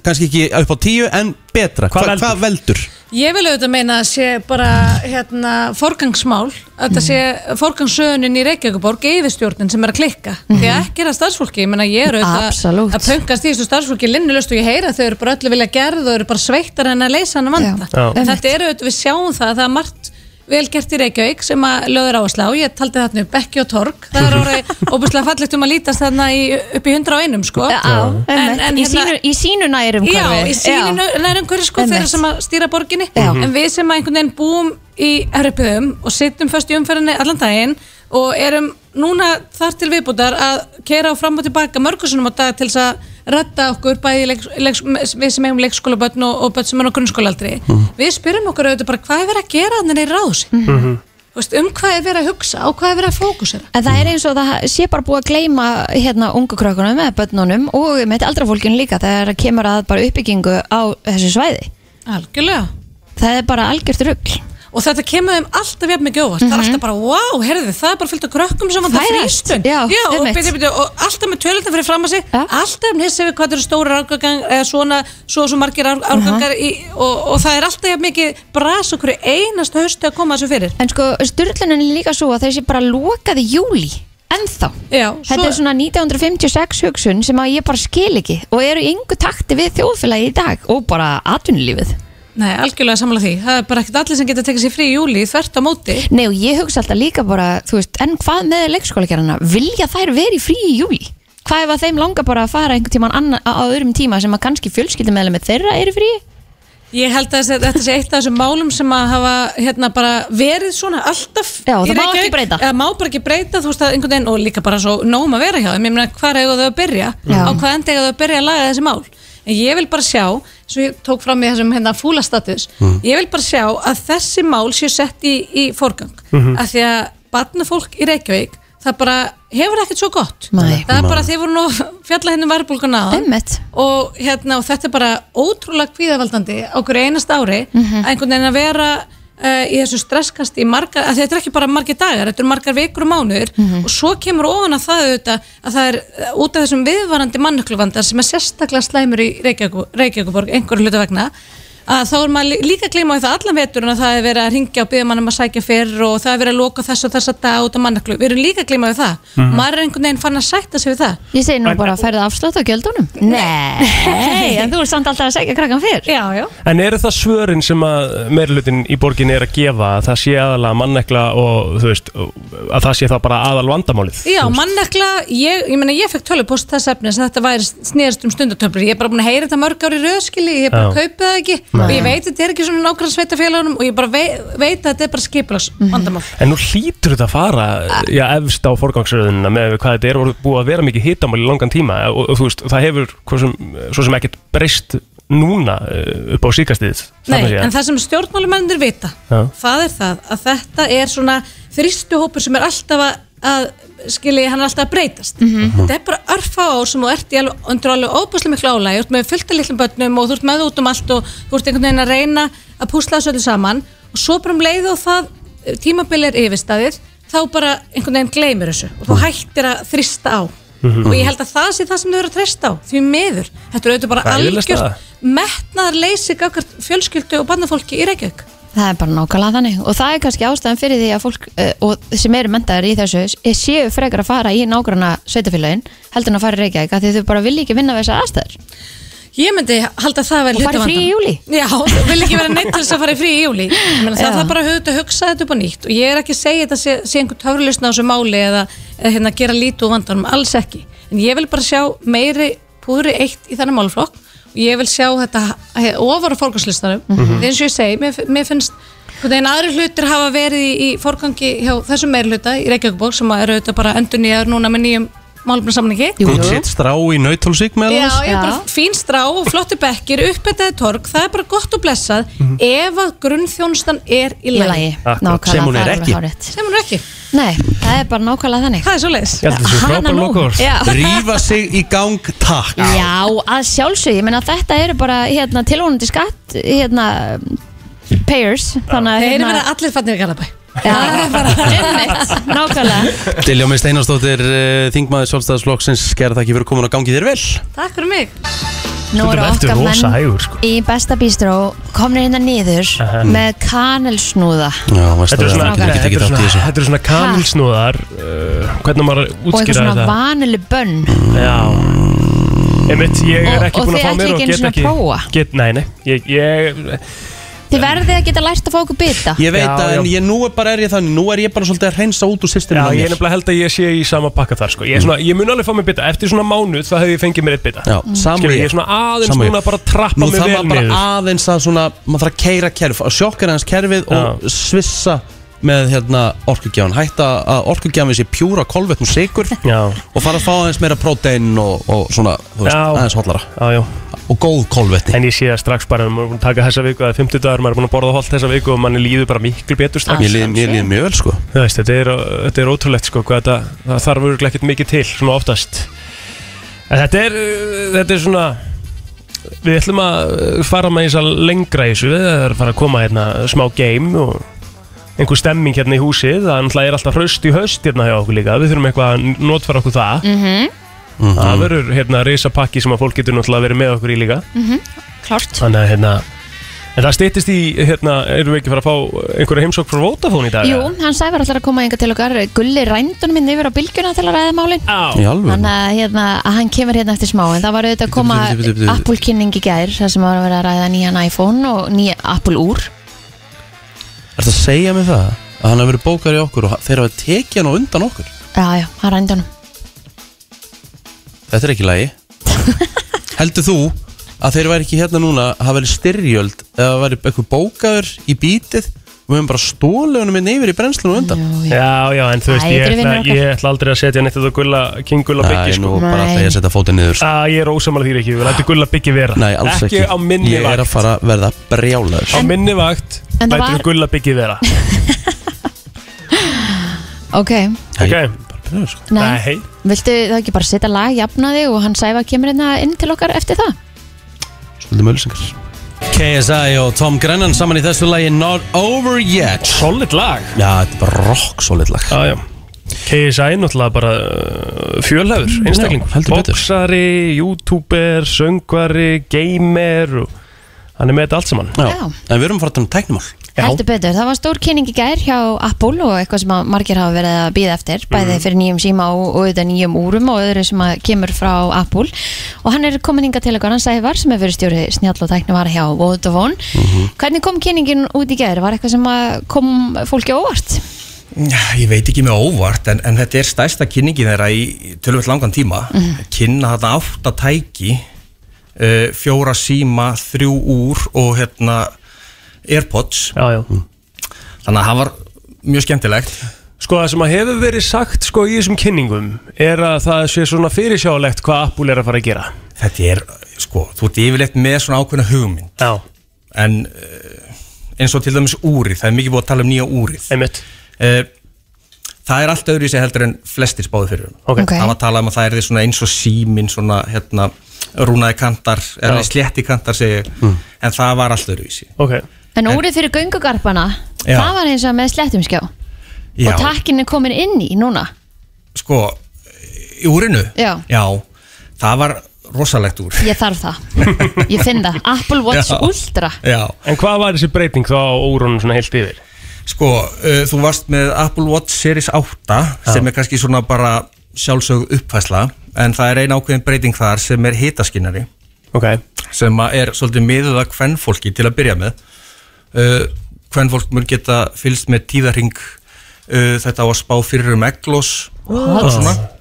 Kannski ekki upp á tíu, en betra. Hvað Hva, hvað veldur? Ég vil auðvitað meina að sé bara hérna, forgangsmál að þetta sé forgangssöðunin í Reykjavíkuborg yfirstjórnin sem er að klikka því að ekki er að starfsfólki, ég meina ég er auðvitað Mhm. Absolutt. að pöngast í þessu starfsfólki linnulust og ég heyra að þau eru bara öllu vilja gerð og eru bara sveittar en að leysa hann að vanda Já. En þetta er auðvitað, við sjáum það að það er margt vel gert í Reykjavík sem að löður á að slá ég taldi þarna upp Bekki og Torg það er (laughs) orðið óbúslega fallegt um að lítast þarna í, upp í 101 sko hérna- Já, hérna- einmitt. Í sínu- í sínu nærum Já, í sínu nærum hverju sko þeirra sem að stýra borginni en við sem að einhvern veginn búum í erfiðum og sittum först í umferðinni allan daginn og erum núna þar til viðbútar að kera á fram og tilbaka mörgursunum á dag til þess að redda okkur bæði leik, leik, við sem eigum leikskólabötn og, og bötn sem er á grunnskólaldri við spyrjum okkur auðvitað bara hvað er verið að gera þannig í ráðs mm Mhm. veist, um hvað er verið að hugsa á hvað er verið að fókusera En það er eins og það sé bara búið að gleyma hérna ungu krökkunum með börnunum og með aldra fólkinu líka þegar það kemur að bara uppbyggingu á þessu svæði Algjörlega Það er bara algjört rugl og þetta kemur þeim alltaf jafn mikið óvart Mhm. það er alltaf bara, wow, herðu, það er bara fyllt af krökkum sem vantar Fæðast, frístund já, og, einmitt. byrju, byrju, og alltaf með tölutna fyrir fram að sig alltaf um hissi við hvað eru stóra árgangang eða svona, svo og svo margir ár- árgangar Mhm. í, og, og það er alltaf jafn mikið bras okkur einasta haustu að koma þessu fyrir En sko, styrlunin er líka svo að þessi bara lokaði júli ennþá Já, Þetta er svona 1956 hugsun sem að ég bara skil ekki og eru í yngu takti við þjóðfélagi í dag og bara atvinnulífið Nei, algjörlega samla því, það er bara ekkert allir sem geta tekið sér frí í júli, þvert á móti Nei og ég hugsa alltaf líka bara, þú veist, en hvað með leikskólagerðana? Vilja þær verið frí í júli? Hvað ef að þeim langar bara að fara einhvern tíman anna, á á öðrum tíma sem að kannski fjölskyldumæðlega með þeirra eru frí? Ég held að þetta þetta sé eitt af þessum málum sem að hafa hérna bara verið svona alltaf Já, það má ekki breyta. Það má bara ekki breyta, þú veist að einhvern veginn og líka bara svo nóg um að vera hjá þeim, ég meina hvað eiga þau að byrja Já. á hvað enda eiga þau að byrja að laga þessi mál en ég vil bara sjá, svo ég tók fram í þessum hérna fúlastatus, Mm. ég vil bara sjá að þessi mál séu sett í, í forgang, Mhm. af því að barnafólk í Reykjavík, það bara hefur ekkert svo gott, Nei. það er Nei. bara þeir voru nú fjalla hérna um hennum verðbólgan á Einmitt. og, hérna, og þetta er bara ótrúlega kvíðavaldandi á hverju einast ári Mhm. að einhvern veginn að vera uh, í þessu stresskast í margar, að þetta er ekki bara margir dagar, þetta eru margar vikur og mánuður Mhm. og svo kemur ofan að það auðvitað að það er eh, út af þessum viðvarandi mannukluvandar sem er sérstaklega slæmur í Reykjavík- Reykjavíkuborg einhverju hlutu vegna að þá er maður lí- líka að gleyma við það allan vetur að það er verið að ringja og byggja mann um að sækja fyrr og það er verið að loka þess og þess að dag út af mannaklu við erum líka að gleyma við það Mhm. maður er einhvern veginn fann að sætta sig við það Ég segi nú bara að færðu afslátt á gjöldunum Nei, en þú er samt alltaf að segja krakkan fyrr Já, já En eru það svörin sem að meirlutin í borgin er að gefa að það sé aðalega mannekla og þú veist að það sé það bara aðal vandamálið Já, mannakla, ég, ég meina ég fekk tölupost þess efnis að þetta væri snerist um stundatöflur ég er bara búin að heyra þetta mörg ári röðskili ég er bara að Já. kaupa það ekki Nei. og ég veit að þetta er ekki svona nákvæmlega sveitafélagunum og ég bara vei, veit að þetta er bara skipulags vandamál En nú hlýtur þetta að fara já, efst á forgangsröðunina með hvað þetta er orðið búið að vera mikið hitamál í langan tíma og, og þú veist, það hefur hvað sem, svo sem ekkert breyst núna eh, upp á síkastíð Nei, en það sem stjórnmálumennir vita Já. það er það að þetta er svona þrýstuhópur sem er alltaf að, að skilji, hann er alltaf að breytast Mhm. þetta er bara örfa ár sem þú ert í alveg, undir alveg óbúslega miklu álæg, þú ert með fullt af litlum börnum og þú ert með út um allt og þú ert einhvern veginn að reyna að púsla þessu öllu saman og svo bara um leið og það tímabilið er yfirstaðir þá bara einhvern veginn gleymir þessu og þú hættir að þrýsta á Mhm. og ég held að það sé það sem þau eru að treysta á því miður, þetta er auðvitað bara Hræðileg staða. algjört metnaðarleysi gafkvært fjölskyldu og barnafólki í Reykjavík Það er bara nákvæmlega þannig og það er kannski ástæðan fyrir því að fólk uh, og sem eru menntaðar í þessu er- séu frekar að fara í nágrana sveitafélagin heldur en að fara í Reykjavík af því þau bara vilja ekki vinna við þessar aðstæður Ég myndi halda að það væri Og fara í hluti af frí í vandanum. Já, þú vil ekki vera neitt til þess að fara í frí í júli Menna, Já. Það er bara að höfðu að hugsa þetta upp á nýtt og ég er ekki að segja þetta sé, sé einhver töfrlustna á þessu máli eða, eða hérna, gera lítið úr vandanum, alls ekki en ég vil bara sjá meiri púðri eitt í þannig málflokk og ég vil sjá þetta he, ofar á fólkarslistanum mm Mhm. eins og ég segi, mér, mér finnst hvernig en aðri hlutir hafa verið í, í forgangi hjá þessum meiri hluta í Reykjavíkbók sem eru þetta bara endur nýjar núna með nýjum málumnarsamningi Good shit strá í nautólsík með Já, já, bara fín strá og flotti bekkir uppbyttaði torg, það er bara gott og blessað ef að grunnþjónustan er Mhm. í Í lagi lagi. Akkurat, Nákvæmlega, sem hún er það er ekki. alveg hárrétt. Sem hún er ekki Nei, það er bara nákvæmlega þannig Það er svo leiðis Ég held að þetta sé frábær lokaorð. Drífa sig í gang, takk Já, að sjálfsög, ég meina þetta eru bara hérna, tilvonandi skatt hérna, payers þannig að hérna, Þeir eru verið allir fannir í Galabæ Nákvæmlega Diljá minn Einarstóttir, uh, þingmaður sjálfstæðisflokksins Gerð þakki fyrir komin og gangi þér vel Takk fyrir mig Nú eru Stundum ertu okkar rosa menn hægur, sko. í besta bístró komnir hérna niður Aha. með kanelsnúða Já, Þetta eru svona, Strákar. nei, þetta eru svona, þetta eru svona kamilsnúðar uh, Hvernig maður og eitthvað útskýra svona þetta vanilu bönn Já Einmitt, ég er Og- ekki og búin þið að ætlið fá mér ekki einu og get sinni að ekki prófa? get, Nei, nei, ég, ég Þið verðið að geta lært að fá okkur bita Ég veit að en ég, nú er bara er ég þannig Nú er ég bara svolítið að reynsa út úr Já, systeminu á mér. ég er nefnilega held að ég sé í sama pakka þar sko. ég, er svona, ég mun alveg fá mér bita, eftir svona mánuð þá hef ég fengið mér eitt bita Já, sama Skilur, ég. Ég er svona aðeins Sama ég. núna bara að trappa Nú mig þarf vel maður bara niður aðeins að svona Maður þarf að keira kerf, að sjokkera hans kerfið Og svissa með hérna orkugjáðan Hætta að orkugjáðan sé pjúra kolvetn og sigur Já. Og fara að fá aðeins meira prótein og, og svona, þú veist, Já. aðeins hóllara já, já. Og góð kolvetni En ég sé það strax bara, maður er búin að taka þessa viku Það er 50 dagar, maður er búin að borða hólt þessa viku Og manni líður bara miklu betur strax Mér líður- mér líður mjög vel sko Þú veist, þetta er, þetta er ótrúlegt sko hvað þetta, Það þarf örgulega ekkert mikið til, svona oftast En þetta er, uh, þetta er svona Við ætlum að uh, fara með þess að lengra í þessu Við erum að fara að koma hérna smá game og einhver stemming hérna í húsið Það náttúrulega er alltaf hraust í haust hérna hjá okkur líka Við þurfum eitthvað að notfæra okkur það Mhm, Það verður hérna risapakki sem að fólk getur náttúrulega verið með okkur í líka mhm, Klárt Þannig að hérna En það stýttist í, hérna, erum við ekki að fara að fá einhverja heimsók frá Vodafone í dag? Jú, hann sæfar alltaf að koma einhver til okkar Gulli rændunum minn yfir á bylgjuna til að ræða málin Í alvöru? Þannig að, hérna, að hann kemur hérna eftir smá En það var auðvitað að koma Bíddu, bíddu, bíddu, bíddu. Apple kynning í gær Það sem var að vera að ræða nýjan iPhone og nýja Apple úr Ertu að segja mig það? Að hann hafi verið bókar í okkur og þeir hafa tekið hann á undan okkur Já, já, hann rændi honum Þetta er ekki lægi Heldur þú að þeir væri ekki hérna núna hafa verið styrjöld eða það væri eitthvað bókaður í bítið og við höfum bara stólegunum minn yfir í brennslunum undan Já, já, en þú veist, Æ, ég þetta eru ætla, vinir okkar. ég ætla aldrei að setja neitt þetta gulla, King Gulla Nei, byggi, sko. nú bara ætla ég að setja fótinn niður, sko. Á, ég er ósamal því ekki, við lætum gulla byggi vera. Nei, alls ekki, á minni Ég er vakt. að fara að verða brjálaður Á minni vakt, En það lætum var... var- gulla byggi vera. Ok, Ok? Bara pröðu, sko. Nei. viltu þá ekki bara setja lag jafnaði og hann sæfa kemur hérna inn til okkar eftir það Skuldum öllisengar KSI og Tom Grennan saman í þessu lagi Not Over Yet Solid lag Já, þetta er bara rock solid lag Já, já KSI náttúrulega bara uh, fjölhefur, einstakling. Já, heldur betur. Boksari, youtuber, söngvari, gamer og Hann er með þetta allt saman Já. En við erum að fara til um tæknumál Heldur betur, það var stór kynning í gær hjá Apple og eitthvað sem að margir hafa verið að býða eftir Mhm. bæði fyrir nýjum síma og, og auðvitað nýjum úrum og öðru sem að kemur frá Apple og hann er komin hingað til okkar, hann sæði var sem er fyrir stjóri snjall og tæknivara hjá Vodafone Mhm. Hvernig kom kynningin út í gær? Var eitthvað sem að kom fólki á óvart? Já, Ég veit ekki með óvart en, en þetta er stærsta kynningi þeirra í tölvöld langan tíma Mhm. kynna þarna átta tæki uh, fjóra síma, þrjú úr og hérna Airpods já, já. Mm. þannig að það var mjög skemmtilegt Sko það sem að hefur verið sagt sko í þessum kynningum er að það sé svona fyrirsjálegt hvað Apple er að fara að gera Þetta er, sko, þú ert yfirleitt með svona ákveðna hugmynd Já. En uh, eins og til dæmis úrið, það er mikið búið að tala um nýja úrið Einmitt Eh, Það er allt öðru í sig heldur en flestir spáðu fyrir um Ok. Ok. Það var að tala um að það er svona eins og símin svona, hérna, rúnaði kantar eða Já. Hmm. slétti kantar segi ég, en það var allt öðru í sig okay. En úrið fyrir göngugarpana, Já. það var eins og með slettum skjá Já, og takkin er komin inn í núna sko, í úrinu Já. það var rosalegt úr Ég þarf það, (laughs) ég finn það Apple Watch Já. Ultra Já. En hvað var þessi breyting þá á úrunum svona heilt yfir? Sko, uh, þú varst með Apple Watch Series 8 sem er kannski svona bara sjálfsög uppfæsla en það er ein ákveðin breyting þar sem er hitaskinnari okay. sem að er svolítið miðuð að kvennfólki til að byrja með uh, kvennfólk mun geta fylst með tíðarhing uh, þetta á að spá fyrir um eglós What?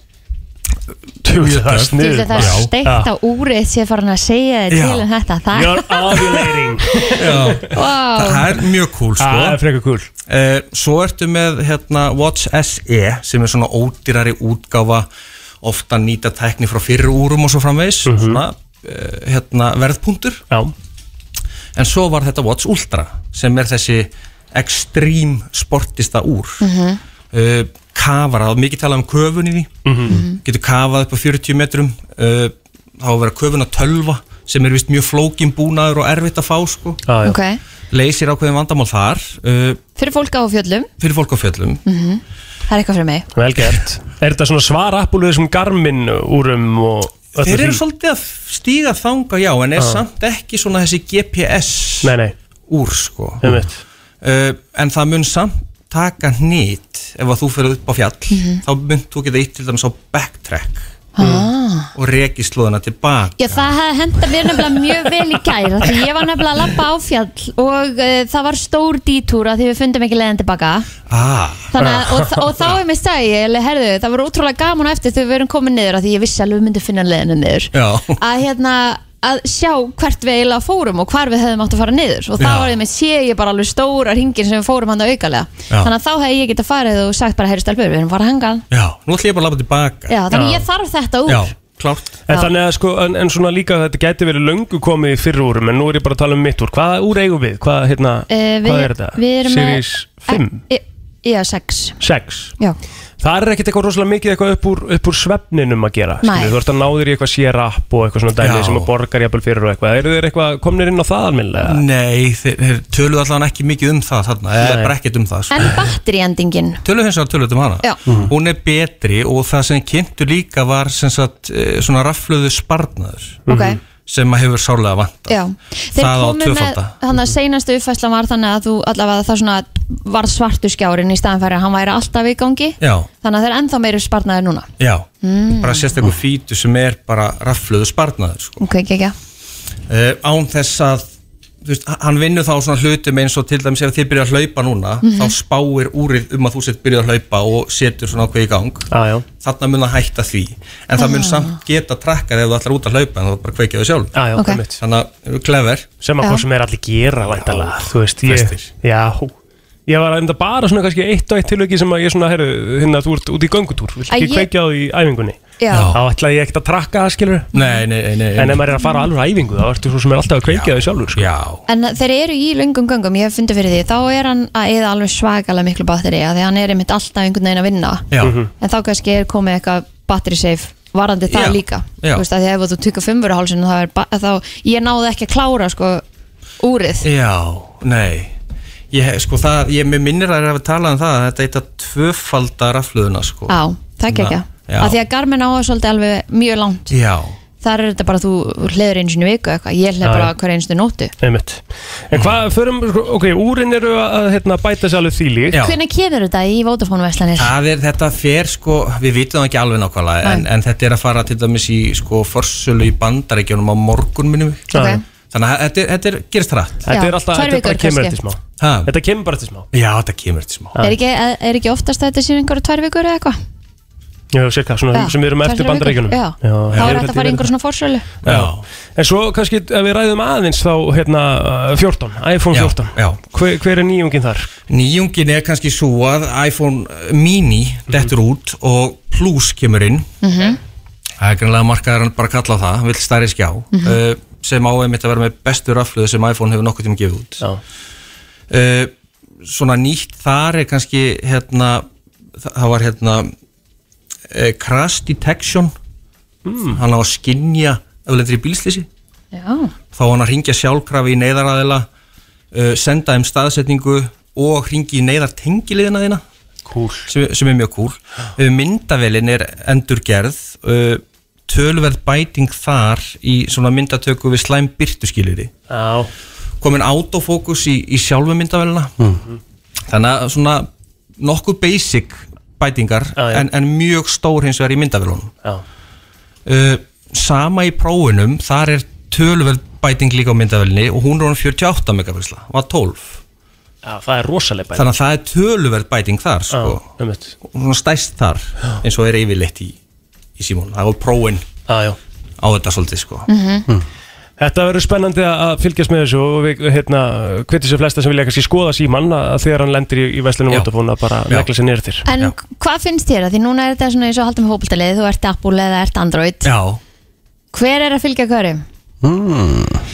Tjú, Mjög það er töff. Þú veist sniðugt, að það Já. er steikt á úrið sé farin að segja þið Já. til um þetta Það You're ovulating Já. Vá. Það er mjög cool sko. Oh. Uh, Það er frekar cool Svo ertu með hérna, Watch SE sem er svona ódýrari útgáfa ofta nýta tækni frá fyrri úrum og svo framvegis Mhm. svona, uh, hérna, verðpuntur Já. En svo var þetta Watch Ultra sem er þessi extreme sportista úr Mhm. uh, kafar, það var mikið talað um köfun í því Mhm. getur kafað upp á 40 metrum uh, þá að vera köfun að tölva sem er vist mjög flókin búnaður og erfitt að fá sko. ah, Ok, leysir ákveðin vandamál þar uh, fyrir fólk á fjöllum fyrir fólk á fjöllum Mhm. Það er eitthvað fyrir mig Vel gert Er þetta svona svar Apple við þessum garmin úrum og öllu þeir eru því? svolítið að stíga þanga já en er Já. samt ekki svona þessi GPS Nei, nei úr sko uh, Eh, en það mun samt taka hnýtt ef að þú fyrir upp á fjall Mhm. þá mun þú geta ítt til dæmis á backtrack Mm. ah. og reki slóðina tilbaka Já, það hefði henda mér nefnilega mjög vel í gæra því ég var nefnilega að labba á fjall og uh, það var stór dítúra því við fundum ekki leiðin tilbaka ah. Þannig, að- og, og (laughs) þá er mér sagði ég, alveg, herðu, það var ótrúlega gaman á eftir þegar við erum komin niður af því ég vissi alveg við myndum finna leiðinu niður Já. að hérna að sjá hvert við eiginlega fórum og hvar við hefðum átt að fara niður og þá Já. var ég með sé ég bara alveg stóra hringin sem við fórum hann aukalega Já. þannig að þá hefði ég getað farið og sagt bara heyri stelpur, við erum farað hangan já, nú ætlum ég bara að lafa tilbaka Já, þannig ég þarf þetta úr klárt En Já. þannig að sko, en, en svona líka þetta gæti verið löngu komið í fyrru úrum en nú er ég bara að tala um mitt úr Hvaða úr eigum við? Hvað, hérna, Eh, við- hvað er þetta? við erum með- Series 5? e, Já, sex 6? Já. Það er ekkert eitthvað rosalega mikið eitthvað upp úr, upp úr svefninum að gera Nei. skilur, Þú ert að náður í eitthvað sér app og eitthvað svona dæmi Já. sem að borgar jafnvel fyrir og eitthvað Eru þeir eitthvað komnir inn á það Mm. alminlega? Nei, þeir, þeir töluðu allavega ekki mikið um það þarna, eða Nei. bara ekkert um það sko. en batteriendingin Töluðu hins vegar töluðu um hana Já. Mhm. Hún er betri og það sem kynntu líka var sem sagt, eh, svona rafluðu sparnaður Ok. Mhm. sem að hefur sárlega vant Já, þeir Það á komu með, tvöfalda. Mhm. þannig að seinastu uppfæslan var þannig að þú allavega það svona var svartu skjárin í staðan fyrir að hann væri alltaf í gangi Já, þannig að þeir ennþá meiri sparnaði núna já, Mm. bara sérstakur fítu sem er bara rafluðu sparnaður sko. Ok, ekki, ekki uh, án þess að þú veist, hann vinnur þá svona hlutum eins og til dæmis ef þið byrja að hlaupa núna Mhm. þá spáir úrið um að þú sett byrja að hlaupa og setur svona ákveð í gang ah, þarna mun það hætta því en það mun Ah. samt geta trakkar ef þú ætlar út að hlaupa en þú bara kveikja þau sjálf ah, já, Ok. einmitt. þannig að eru clever Sem að hvað sem er allir gera væntalega Þú veist, ég, Flestir. já, hú. ég var enda bara svona kannski eitt og eitt tilöki sem að ég svona, herru, hérna, þú ert út í göngutúr Vilt Að ekki ég- kveikja á því í æfingunni Já. Þá ætlaði ég ekkert að trakka það, skilur Nei, nei, nei, Mhm. En ef maður er að fara á alveg æfingu, þá ertu svo sem er alltaf að kveikja þau sjálfur sko. Já, En þeir eru í löngum göngum, ég hef fundið fyrir því þá er hann að eða alveg svakalega miklu batteri að því að hann er einmitt alltaf einhvern veginn að vinna já Mhm. en þá kannski er komið eitthvað battery safe varandi það Já, líka já. þú veist að því að ef þú tökur fimmur á hálsinn þá, er ba- þá ég náði ekki að klára sko úrið Já, nei Ég, hef- sko það, ég mér minnir að það er að tala um það að þetta eitthvað tvöfalda rafluðuna sko á, það ekki ekki Já. að því að Garmin áður svolítið alveg mjög langt Já, þar er þetta bara þú hleður einu sinni í viku eitthvað, ég Já, hleð bara já. hverja einu sinni nóttu einmitt En hvað, förum, sko, ok, úrin eru að hérna, bæta sér alveg þýlíkt Hvenær kemur þetta í Vodafone veslanir? Það er þetta fer sko, við vitum það ekki alveg nákvæmlega en, en þetta er að fara til dæmis í sko forsölu í bandaríkjunum á morgun minnum við Ok. Þannig að þetta, er- þetta er, gerist rætt Þetta er alltaf, þetta bara kemur eftir smá Þetta kemur bara eftir smá Já, þetta kemur eftir smá Er ekki, er ekki oftast að þetta séu einhverju tvær vikur eða eitthvað? Já, cirka, svona Já, sem við erum tvær, eftir þrjár bandaríkjunum vikur, já. Þá er hægt að fara í einhverju svona fórsölu Já. En svo kannski ef við ræðum aðeins þá hérna uh, 14, iPhone 14 já. Hver, hver er nýjungin þar? Nýjungin er kannski svo að iPhone mini dettur út og Plus kemur inn Það er greinlega markaðar bara að kalla á það, hann vill stærri skjá Mhm. uh, sem á einmitt að vera með bestu rafluðu sem iPhone hefur nokkuð tíma gefið út uh, Svona nýtt þar er kannski hérna, þa- það var hérna uh, crash detection hann á að skinja ef þú lendir í bílslýsi Já, þá á hann að ringja sjálfkrafi í neyðaraðila uh, senda þeim staðsetningu og ringi í neyðartengiliðina þína cool. sem, sem er mjög cool uh, myndavelin er endurgerð uh, tölverð bæting þar í svona myndatöku við slæm byrtuskiliri Já. komin autofókus í, í sjálfu myndavelina Mhm. þannig að svona nokkuð basic bætingar En, en mjög stór hins vegar í myndavelunum uh, sama í prófunum þar er tölverð bæting líka á myndavelinni og hún er hún 48 megapixla, var 12 Já, það er rosalega bæði þannig að það er tölverð bæting þar sko. og svona stæst þar eins og er yfirleitt í, í símón það var próin ah, á þetta svolítið sko. Mhm. Þetta verður spennandi að að fylgjast með þessu og við hérna, hvetjum sem flesta sem vilja kannski skoða símann að að þegar hann lendir í, í veslinum Vodafone að bara Já. negla sér nýrtir En hvað finnst þér að því núna er þetta svona eins og haldum hópultalið, þú ert Apple eða ert Android Já Hver er að fylgja hverjum? mm.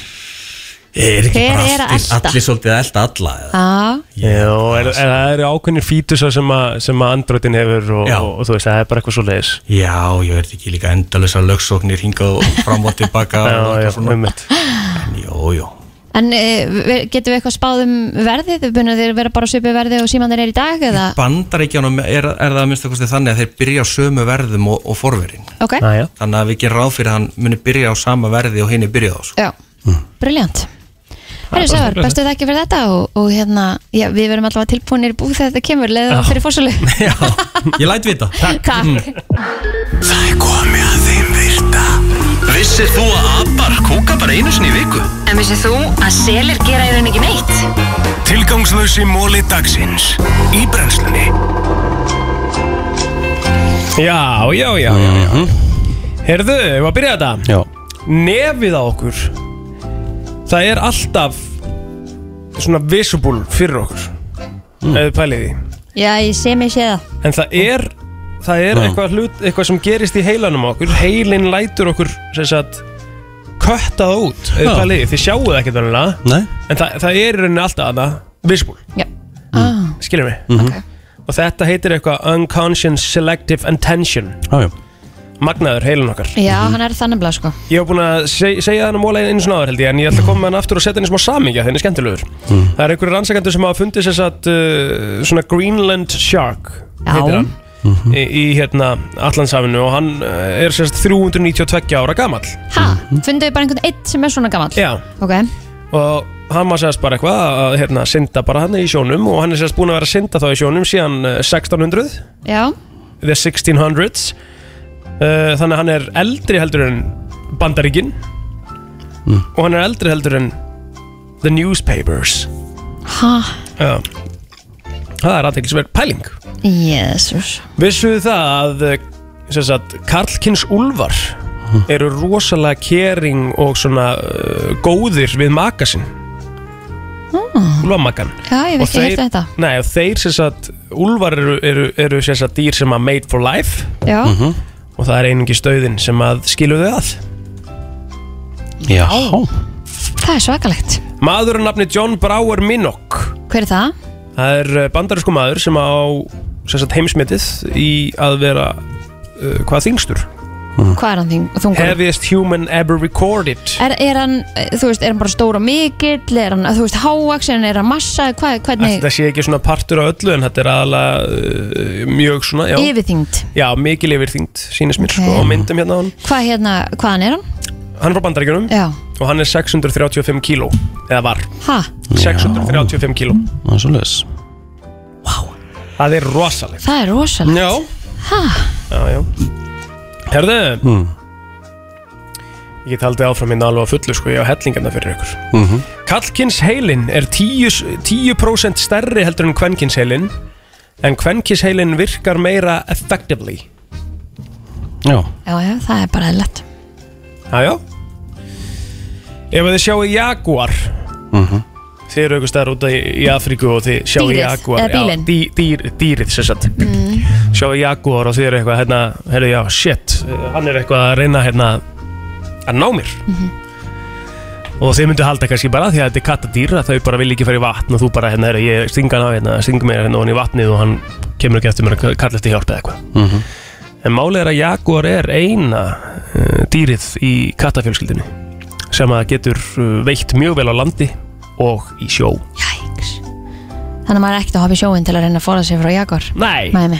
er ekki Hver bara er að allir, elta? allir svolítið að elta alla eða? Já, Já, en en það eru ákveðnir fítusar sem, að- sem að Androidin hefur og, og, og þú veist, það er bara eitthvað svo leiðis já, ég verði ekki líka endalösa lögsóknir hingað og fram og (laughs) tilbaka Já, og já, eitthvað svona. einmitt. en jú, jú En uh, getum við eitthvað spáð um verðið? Bunna þeir vera bara svipið verðið og símandir er í dag? Eða? bandaríkjánum er, er það að minnst okkar þannig að þeir byrja á sömu verðum og, og forverin Ok. Já, já. þannig að við gerum ráð fyrir að hann muni byrja á sama verði og henni byrja á sko. Já, briljant Herru Sævar, bestu þakki fyrir þetta og, og hérna, já, við verum allavega tilbúinir í búið þegar þetta kemur, leiðum Já. fyrir fórsölu ég læt vita (laughs) Takk. Það er komið að þeim virta Vissir þú að abar kúka bara einu sinni í viku? En vissið þú að selir gera í rauninni ekki neitt? Tilgangslösi móli dagsins Í brennslunni Já, já, já, já, já. Herðu, við að byrja þetta Já. Nefið á okkur Það er alltaf Svona visible fyrir okkur mm. Eða pælið í Já, ég sé mig sé það En það er Það er Já. eitthvað, hlut, eitthvað sem gerist í heilanum á okkur Heilin lætur okkur sem sagt, Köttað út Já. Eða pælið í, þið sjáu það ekkert verðanlega Nei. En það, það er í rauninni alltaf að það Visible Já ah. skilur mig Mhm. og þetta heitir eitthvað Unconscious Selective Attention ah, magnaður heilin okkar Já, hann er þannig blá sko ég hef búin að seg segja þannig móla einu svona áður held ég en ég ætla að koma með hann aftur og setja henni smá samingja þenni skemmtilegur það er einhverju rannsakendur sem hafa fundið sér satt uh, svona Greenland Shark Já. heitir hann í, í hérna Allandsafinu og hann uh, er sér satt 392 ára gamall Ha, fundu við bara einhvern eitt sem er svona gamall Já. Ok, og hann var sérst bara eitthvað að hérna, synda bara hann í sjónum og hann er sérst búin að vera að synda þá í sjónum síðan uh, 1600 já, The 1600s uh, Þannig að hann er eldri heldur en Bandaríkin Og hann er eldri heldur en The Newspapers ha, Já Það er aðteklisverð pæling jésús Vissuðu það að eh, sem sagt, Karlkins Úlfar eru rosalega kering og svona uh, góðir við makasinn mm. Úlfamakan Já, ég hef ekki heyrt þetta Nei, og þeir sem sagt Úlfar eru, eru, eru sem sagt dýr sem að made for life Já, Og það er einungi stöðin sem að skilur þau að Já það er svakalegt Maður að nafni John Brower Minnock Hver er það? Það er bandarísku maður sem á sem sagt, heimsmetið í að vera uh, hvað þingstur Hvað er hann þín? Þungur? Heaviest human ever recorded Er, er hann, eh, þú veist, er hann bara stór og mikill, er hann, eh, þú veist, hávaksin, er hann massa, hvað, hvernig, Þetta sé ekki svona partur á öllu en þetta er aðalega uh, mjög svona já, yfirþyngd? já mikil yfirþyngd sínist mér Ok. sko, á myndum hérna á hann Hvað hérna, hvaðan er hann? hann er frá bandaríkjunum Já. og hann er 635 kíló eða var Ha? 635 kíló Það er svolítið það er rosalegt Það er rosalegt Já Ha? já, já. herðu ég get haldið áfram hérna alveg að fullu sko ég á hellingarna fyrir ykkur Mhm. Kallkins heilin er 10%, 10 stærri heldur en kvenkins heilin en kvenkins heilin virkar meira effectively Já Já, já, það er bara lett Jájá Ef þið sjáu Jaguar Mhm. Þið eru einhvers staðar út í, í Afríku og þið sjáu Dýrið, Jaguar eða bílinn. já, dý, dýr, Dýrið, sem sagt mm. Sjáu Jaguar og þið eru eitthvað hérna, hérna, já, shit eh, Hann er eitthvað að reyna hérna að ná mér Mhm. Og þið myndu halda kannski bara af því að þetta er kattadýr að þau bara vil ekki fara í vatn og þú bara, hérna, heyrðu, ég stinga hann á hérna, stinga mér hérna ofan í vatnið og hann kemur ekki eftir mér að kalla eftir hjálp eða eitthvað Mhm. En málið er að Jaguar er eina uh, dýrið í kattafjölskyldinu sem að getur uh, veitt mjög vel á landi og í sjó. Þannig að maður er ekkert að hoppa í sjóin til að reyna að fóra sig frá Jaguar Nei. Mæmi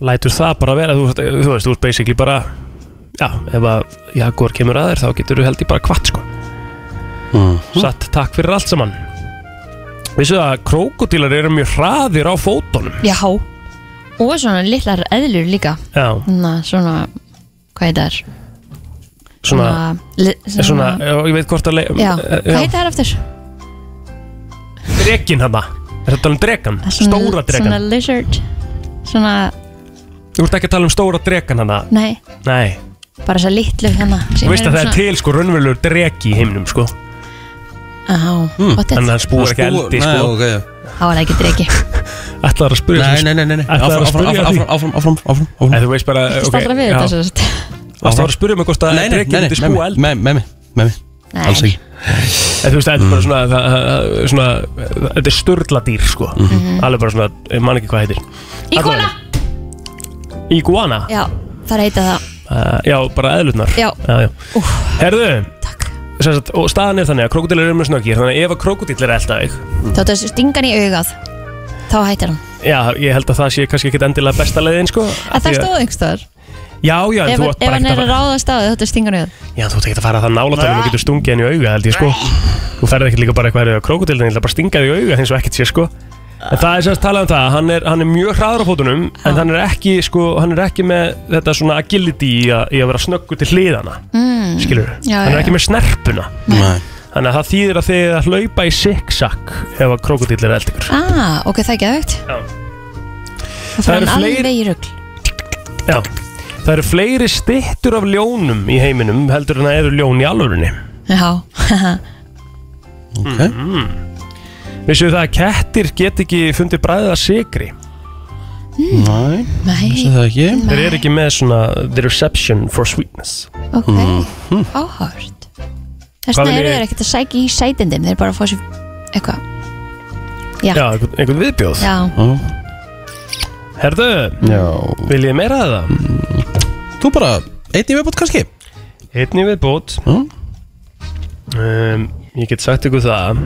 Lætur það bara vera, þú, veist- þú veist, þú veist basically bara, já, ef að Jaguar kemur að þér þá getur þú held í bara kvart sko. Satt takk fyrir allt saman. Vissu það að krókudílar eru mjög hraðir á fótunum. Já Og svona litlar eðlur líka Já, Svona, svona Hvað heit það er? svona, eh, li, svona, eh, já, ég veit hvort að leið. Já, hvað heit það er aftur? Drekinn hana, er þetta um drekan? Stóra drekan. Svona lizard Svona, Þú ert ekki að tala um stóra drekan hana nei, Nei, bara þessa litlu hérna sem þú veist eru að það er svona- til sko raunverulegur dreki í heimnum sko Já, pottet. Hmm, Þannig að hann spúar ekki Hann spúar- eldi nei, sko ok, já. Það var ekki dregi Ætlaðar að spyrja Nei, nei, nei, nei, nei. Ætlaðar að Áfram, spyrja áfram, því áfram, áfram, áfram, áfram, áfram. En þú veist bara Ekki staldra við þetta sem sagt. Það var að spyrja mig hvort Nei, að nei, drekinn nei, myndi nei, spúa með- eld. Með með mig, með mig Nei. Alls ekki En þú veist, þetta er bara svona, það- það- svona Þetta er störla dýr sko Mhm. Alveg bara svona, ég man ekki hvað heitir Íkona Iguana Já, það heita það uh, Já, bara eðlutnar Já. já, já. Herðu sem sagt, Og staðan er þannig að krókudílar eru með snöggir Þannig að ef að krókudíll er að elda þig Þá þetta stingan í augað Þá hættir hann Já, ég held að það sé kannski ekkit endilega besta leiðin sko Að það stóð einhvers staðar Já, já, en Ef, þú ef ert bara hann ekkert er að að fara ráða staði þetta stingan í augað Já, þú ert ekkert að fara það nála þannig að þú getur stungið henni í auga held ég sko Þú ferð ekkert líka bara eitthvað að krokodildin Ég ætla bara að stinga þig í auga eins og ekkert sé sko En það er sem að tala um það, hann er, hann er mjög hraður á fótunum En hann er ekki, sko, hann er ekki með þetta svona agility í að, í að vera snöggur til hliðana mm. Skilur, Já, hann er já, ekki með snerpuna Nei. Þannig að það þýðir að þið að hlaupa í zigzag Ef að krokodil er eldikur Ah, ok, það er geðvögt Það Það fyrir eru hann fleiri- alveg í rugl Já, það eru fleiri stittur af ljónum í heiminum heldur en það eru ljón í alvörunni Já, (laughs) Ok mm. Vissu það að kettir get ekki fundið bræðið að sigri Næ, Nei. vissi það ekki Þeir eru ekki með svona the reception for sweetness ok, Mhm. áhört Hvað Þess vegna vil eru ég- þeir ekkert að sækja í sætindin Þeir eru bara að fá sér eitthvað Já. Já einhvern, einhvern viðbjóð Já. Herðu, Já. vil ég meira að það? Þú bara, einn í viðbót kannski Einn í viðbót um, Ég get sagt ykkur það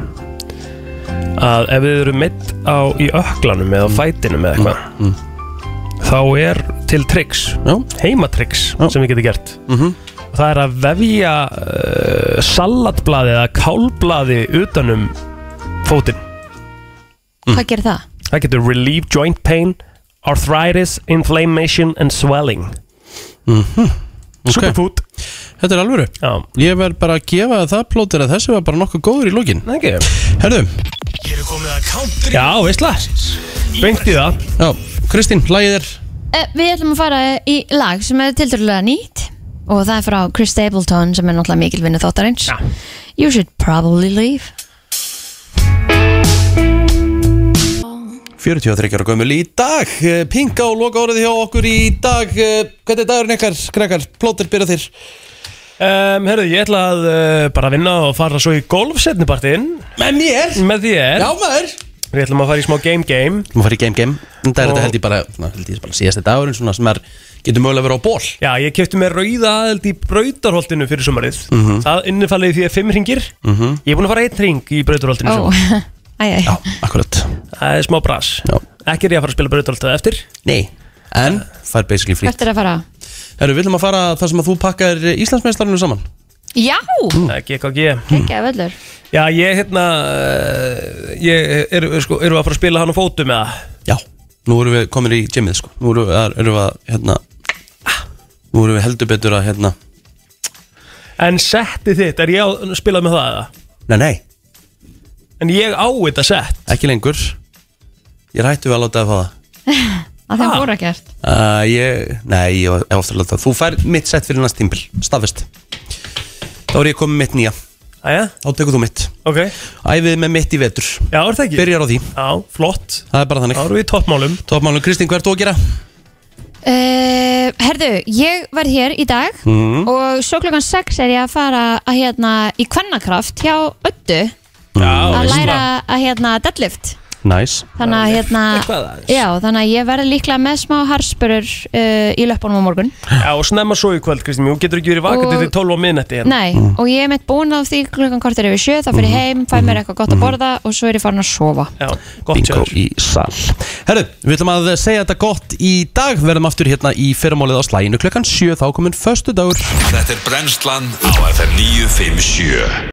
að ef þið eru mitt á í öklanum eða Mm. á fætinum eða eitthvað þá er til triks heimatriks sem við getum gert Mhm. og það er að vefja uh, salatblaði eða kálblaði utanum fótinn Hvað gerir það? það getur relieve joint pain arthritis, inflammation and swelling Mhm. Ok. Superfood Þetta er alvöru Já. Ég verð bara að gefa þér það plótir að þessi var bara nokkuð góður í lókin okay. Herðu Já, veistla Bengt í það Já, Kristín, lagið er Eh, Við ætlum að fara í lag sem er tildurlega nýtt og það er frá Chris Stapleton sem er náttúrulega mikilvinni þáttarins ja. You should probably leave 43 ára gömul í dag Eh, Pinka og loka orðið hjá okkur í dag Eh, Hvernig er dagurinn ykkar, krakkar? Plótir byrja þér Um, herru, ég ætla að uh, bara vinna og fara svo í golf setnipartin Með mér? Með þér Já, maður Við ætlum að fara í smá game-game Þú maður fara í game game Það er Og- þetta held ég bara, svona, held ég bara síðasti dagurinn svona sem er, getur mögulega verið á ból Já, ég kefti með rauða aðeld í brautarholtinu fyrir sumarið Mhm. Það innifalið því að fimm ringir Mhm. Ég er búin að fara einn ring í brautarholtinu Ó, oh. (laughs) æj, æj Akkurat Það er smá bras Já. Ekki er ég að fara að spila brautarholtinu eftir Nei, en það er basically Hvert frýtt er að fara? Herru, við viljum að fara þar sem að þú pakkar Íslandsmeistarinu saman Já, Mm. Það er GKG ekki að völlur Já, ég hérna eh, ég, er, sko, Erum við að fara að spila hann á fótum eða? Já, nú erum við komin í gymið sko. Nú erum við, að- erum við að, hérna Nú erum við heldur betur að, hérna En setti þitt, er ég að spila með það eða? Nei, nei, En ég á þetta sett ekki lengur Ég er hættu við að láta það fá það að þeim fóru ekkert uh, ég, Nei, ég er ofta að láta það Þú fær mitt sett fyrir næst tímpil, staðfest Þá er ég komið mitt nýja Æja? Þá tekur þú mitt okay. Æfið með mitt í vetur Já, er það ekki? Byrjar á því Já, flott Það er bara þannig Þá erum við í toppmálum Toppmálum, Kristín, hvað ert þú að gera? uh, Herðu, ég verð hér í dag Mhm. og svo klokkan 6 er ég að fara að hérna í kvennakraft hjá öttu Mm. að læra að hérna deadlift Næs Þannig að hérna, Eitthvað já, þannig að ég verði líklega með smá harspurur uh, í löpunum á morgun. Já, og snemma svo í kvöld, Kristi Þú getur ekki verið vakandi Og- til 12 á minnetti hérna. Nei, og ég er meitt búin á því klukkan kortir yfir sjö, þá fyrir ég heim, fæ mér eitthvað gott að borða og svo er ég farin að sofa. Já, gott Bingo í sal Herru, við ætlum að segja þetta gott í dag Verðum aftur hérna í fyrramálið á slæginu Klukkan 7 þá komin föstudagur Þetta er brennslan á FM 957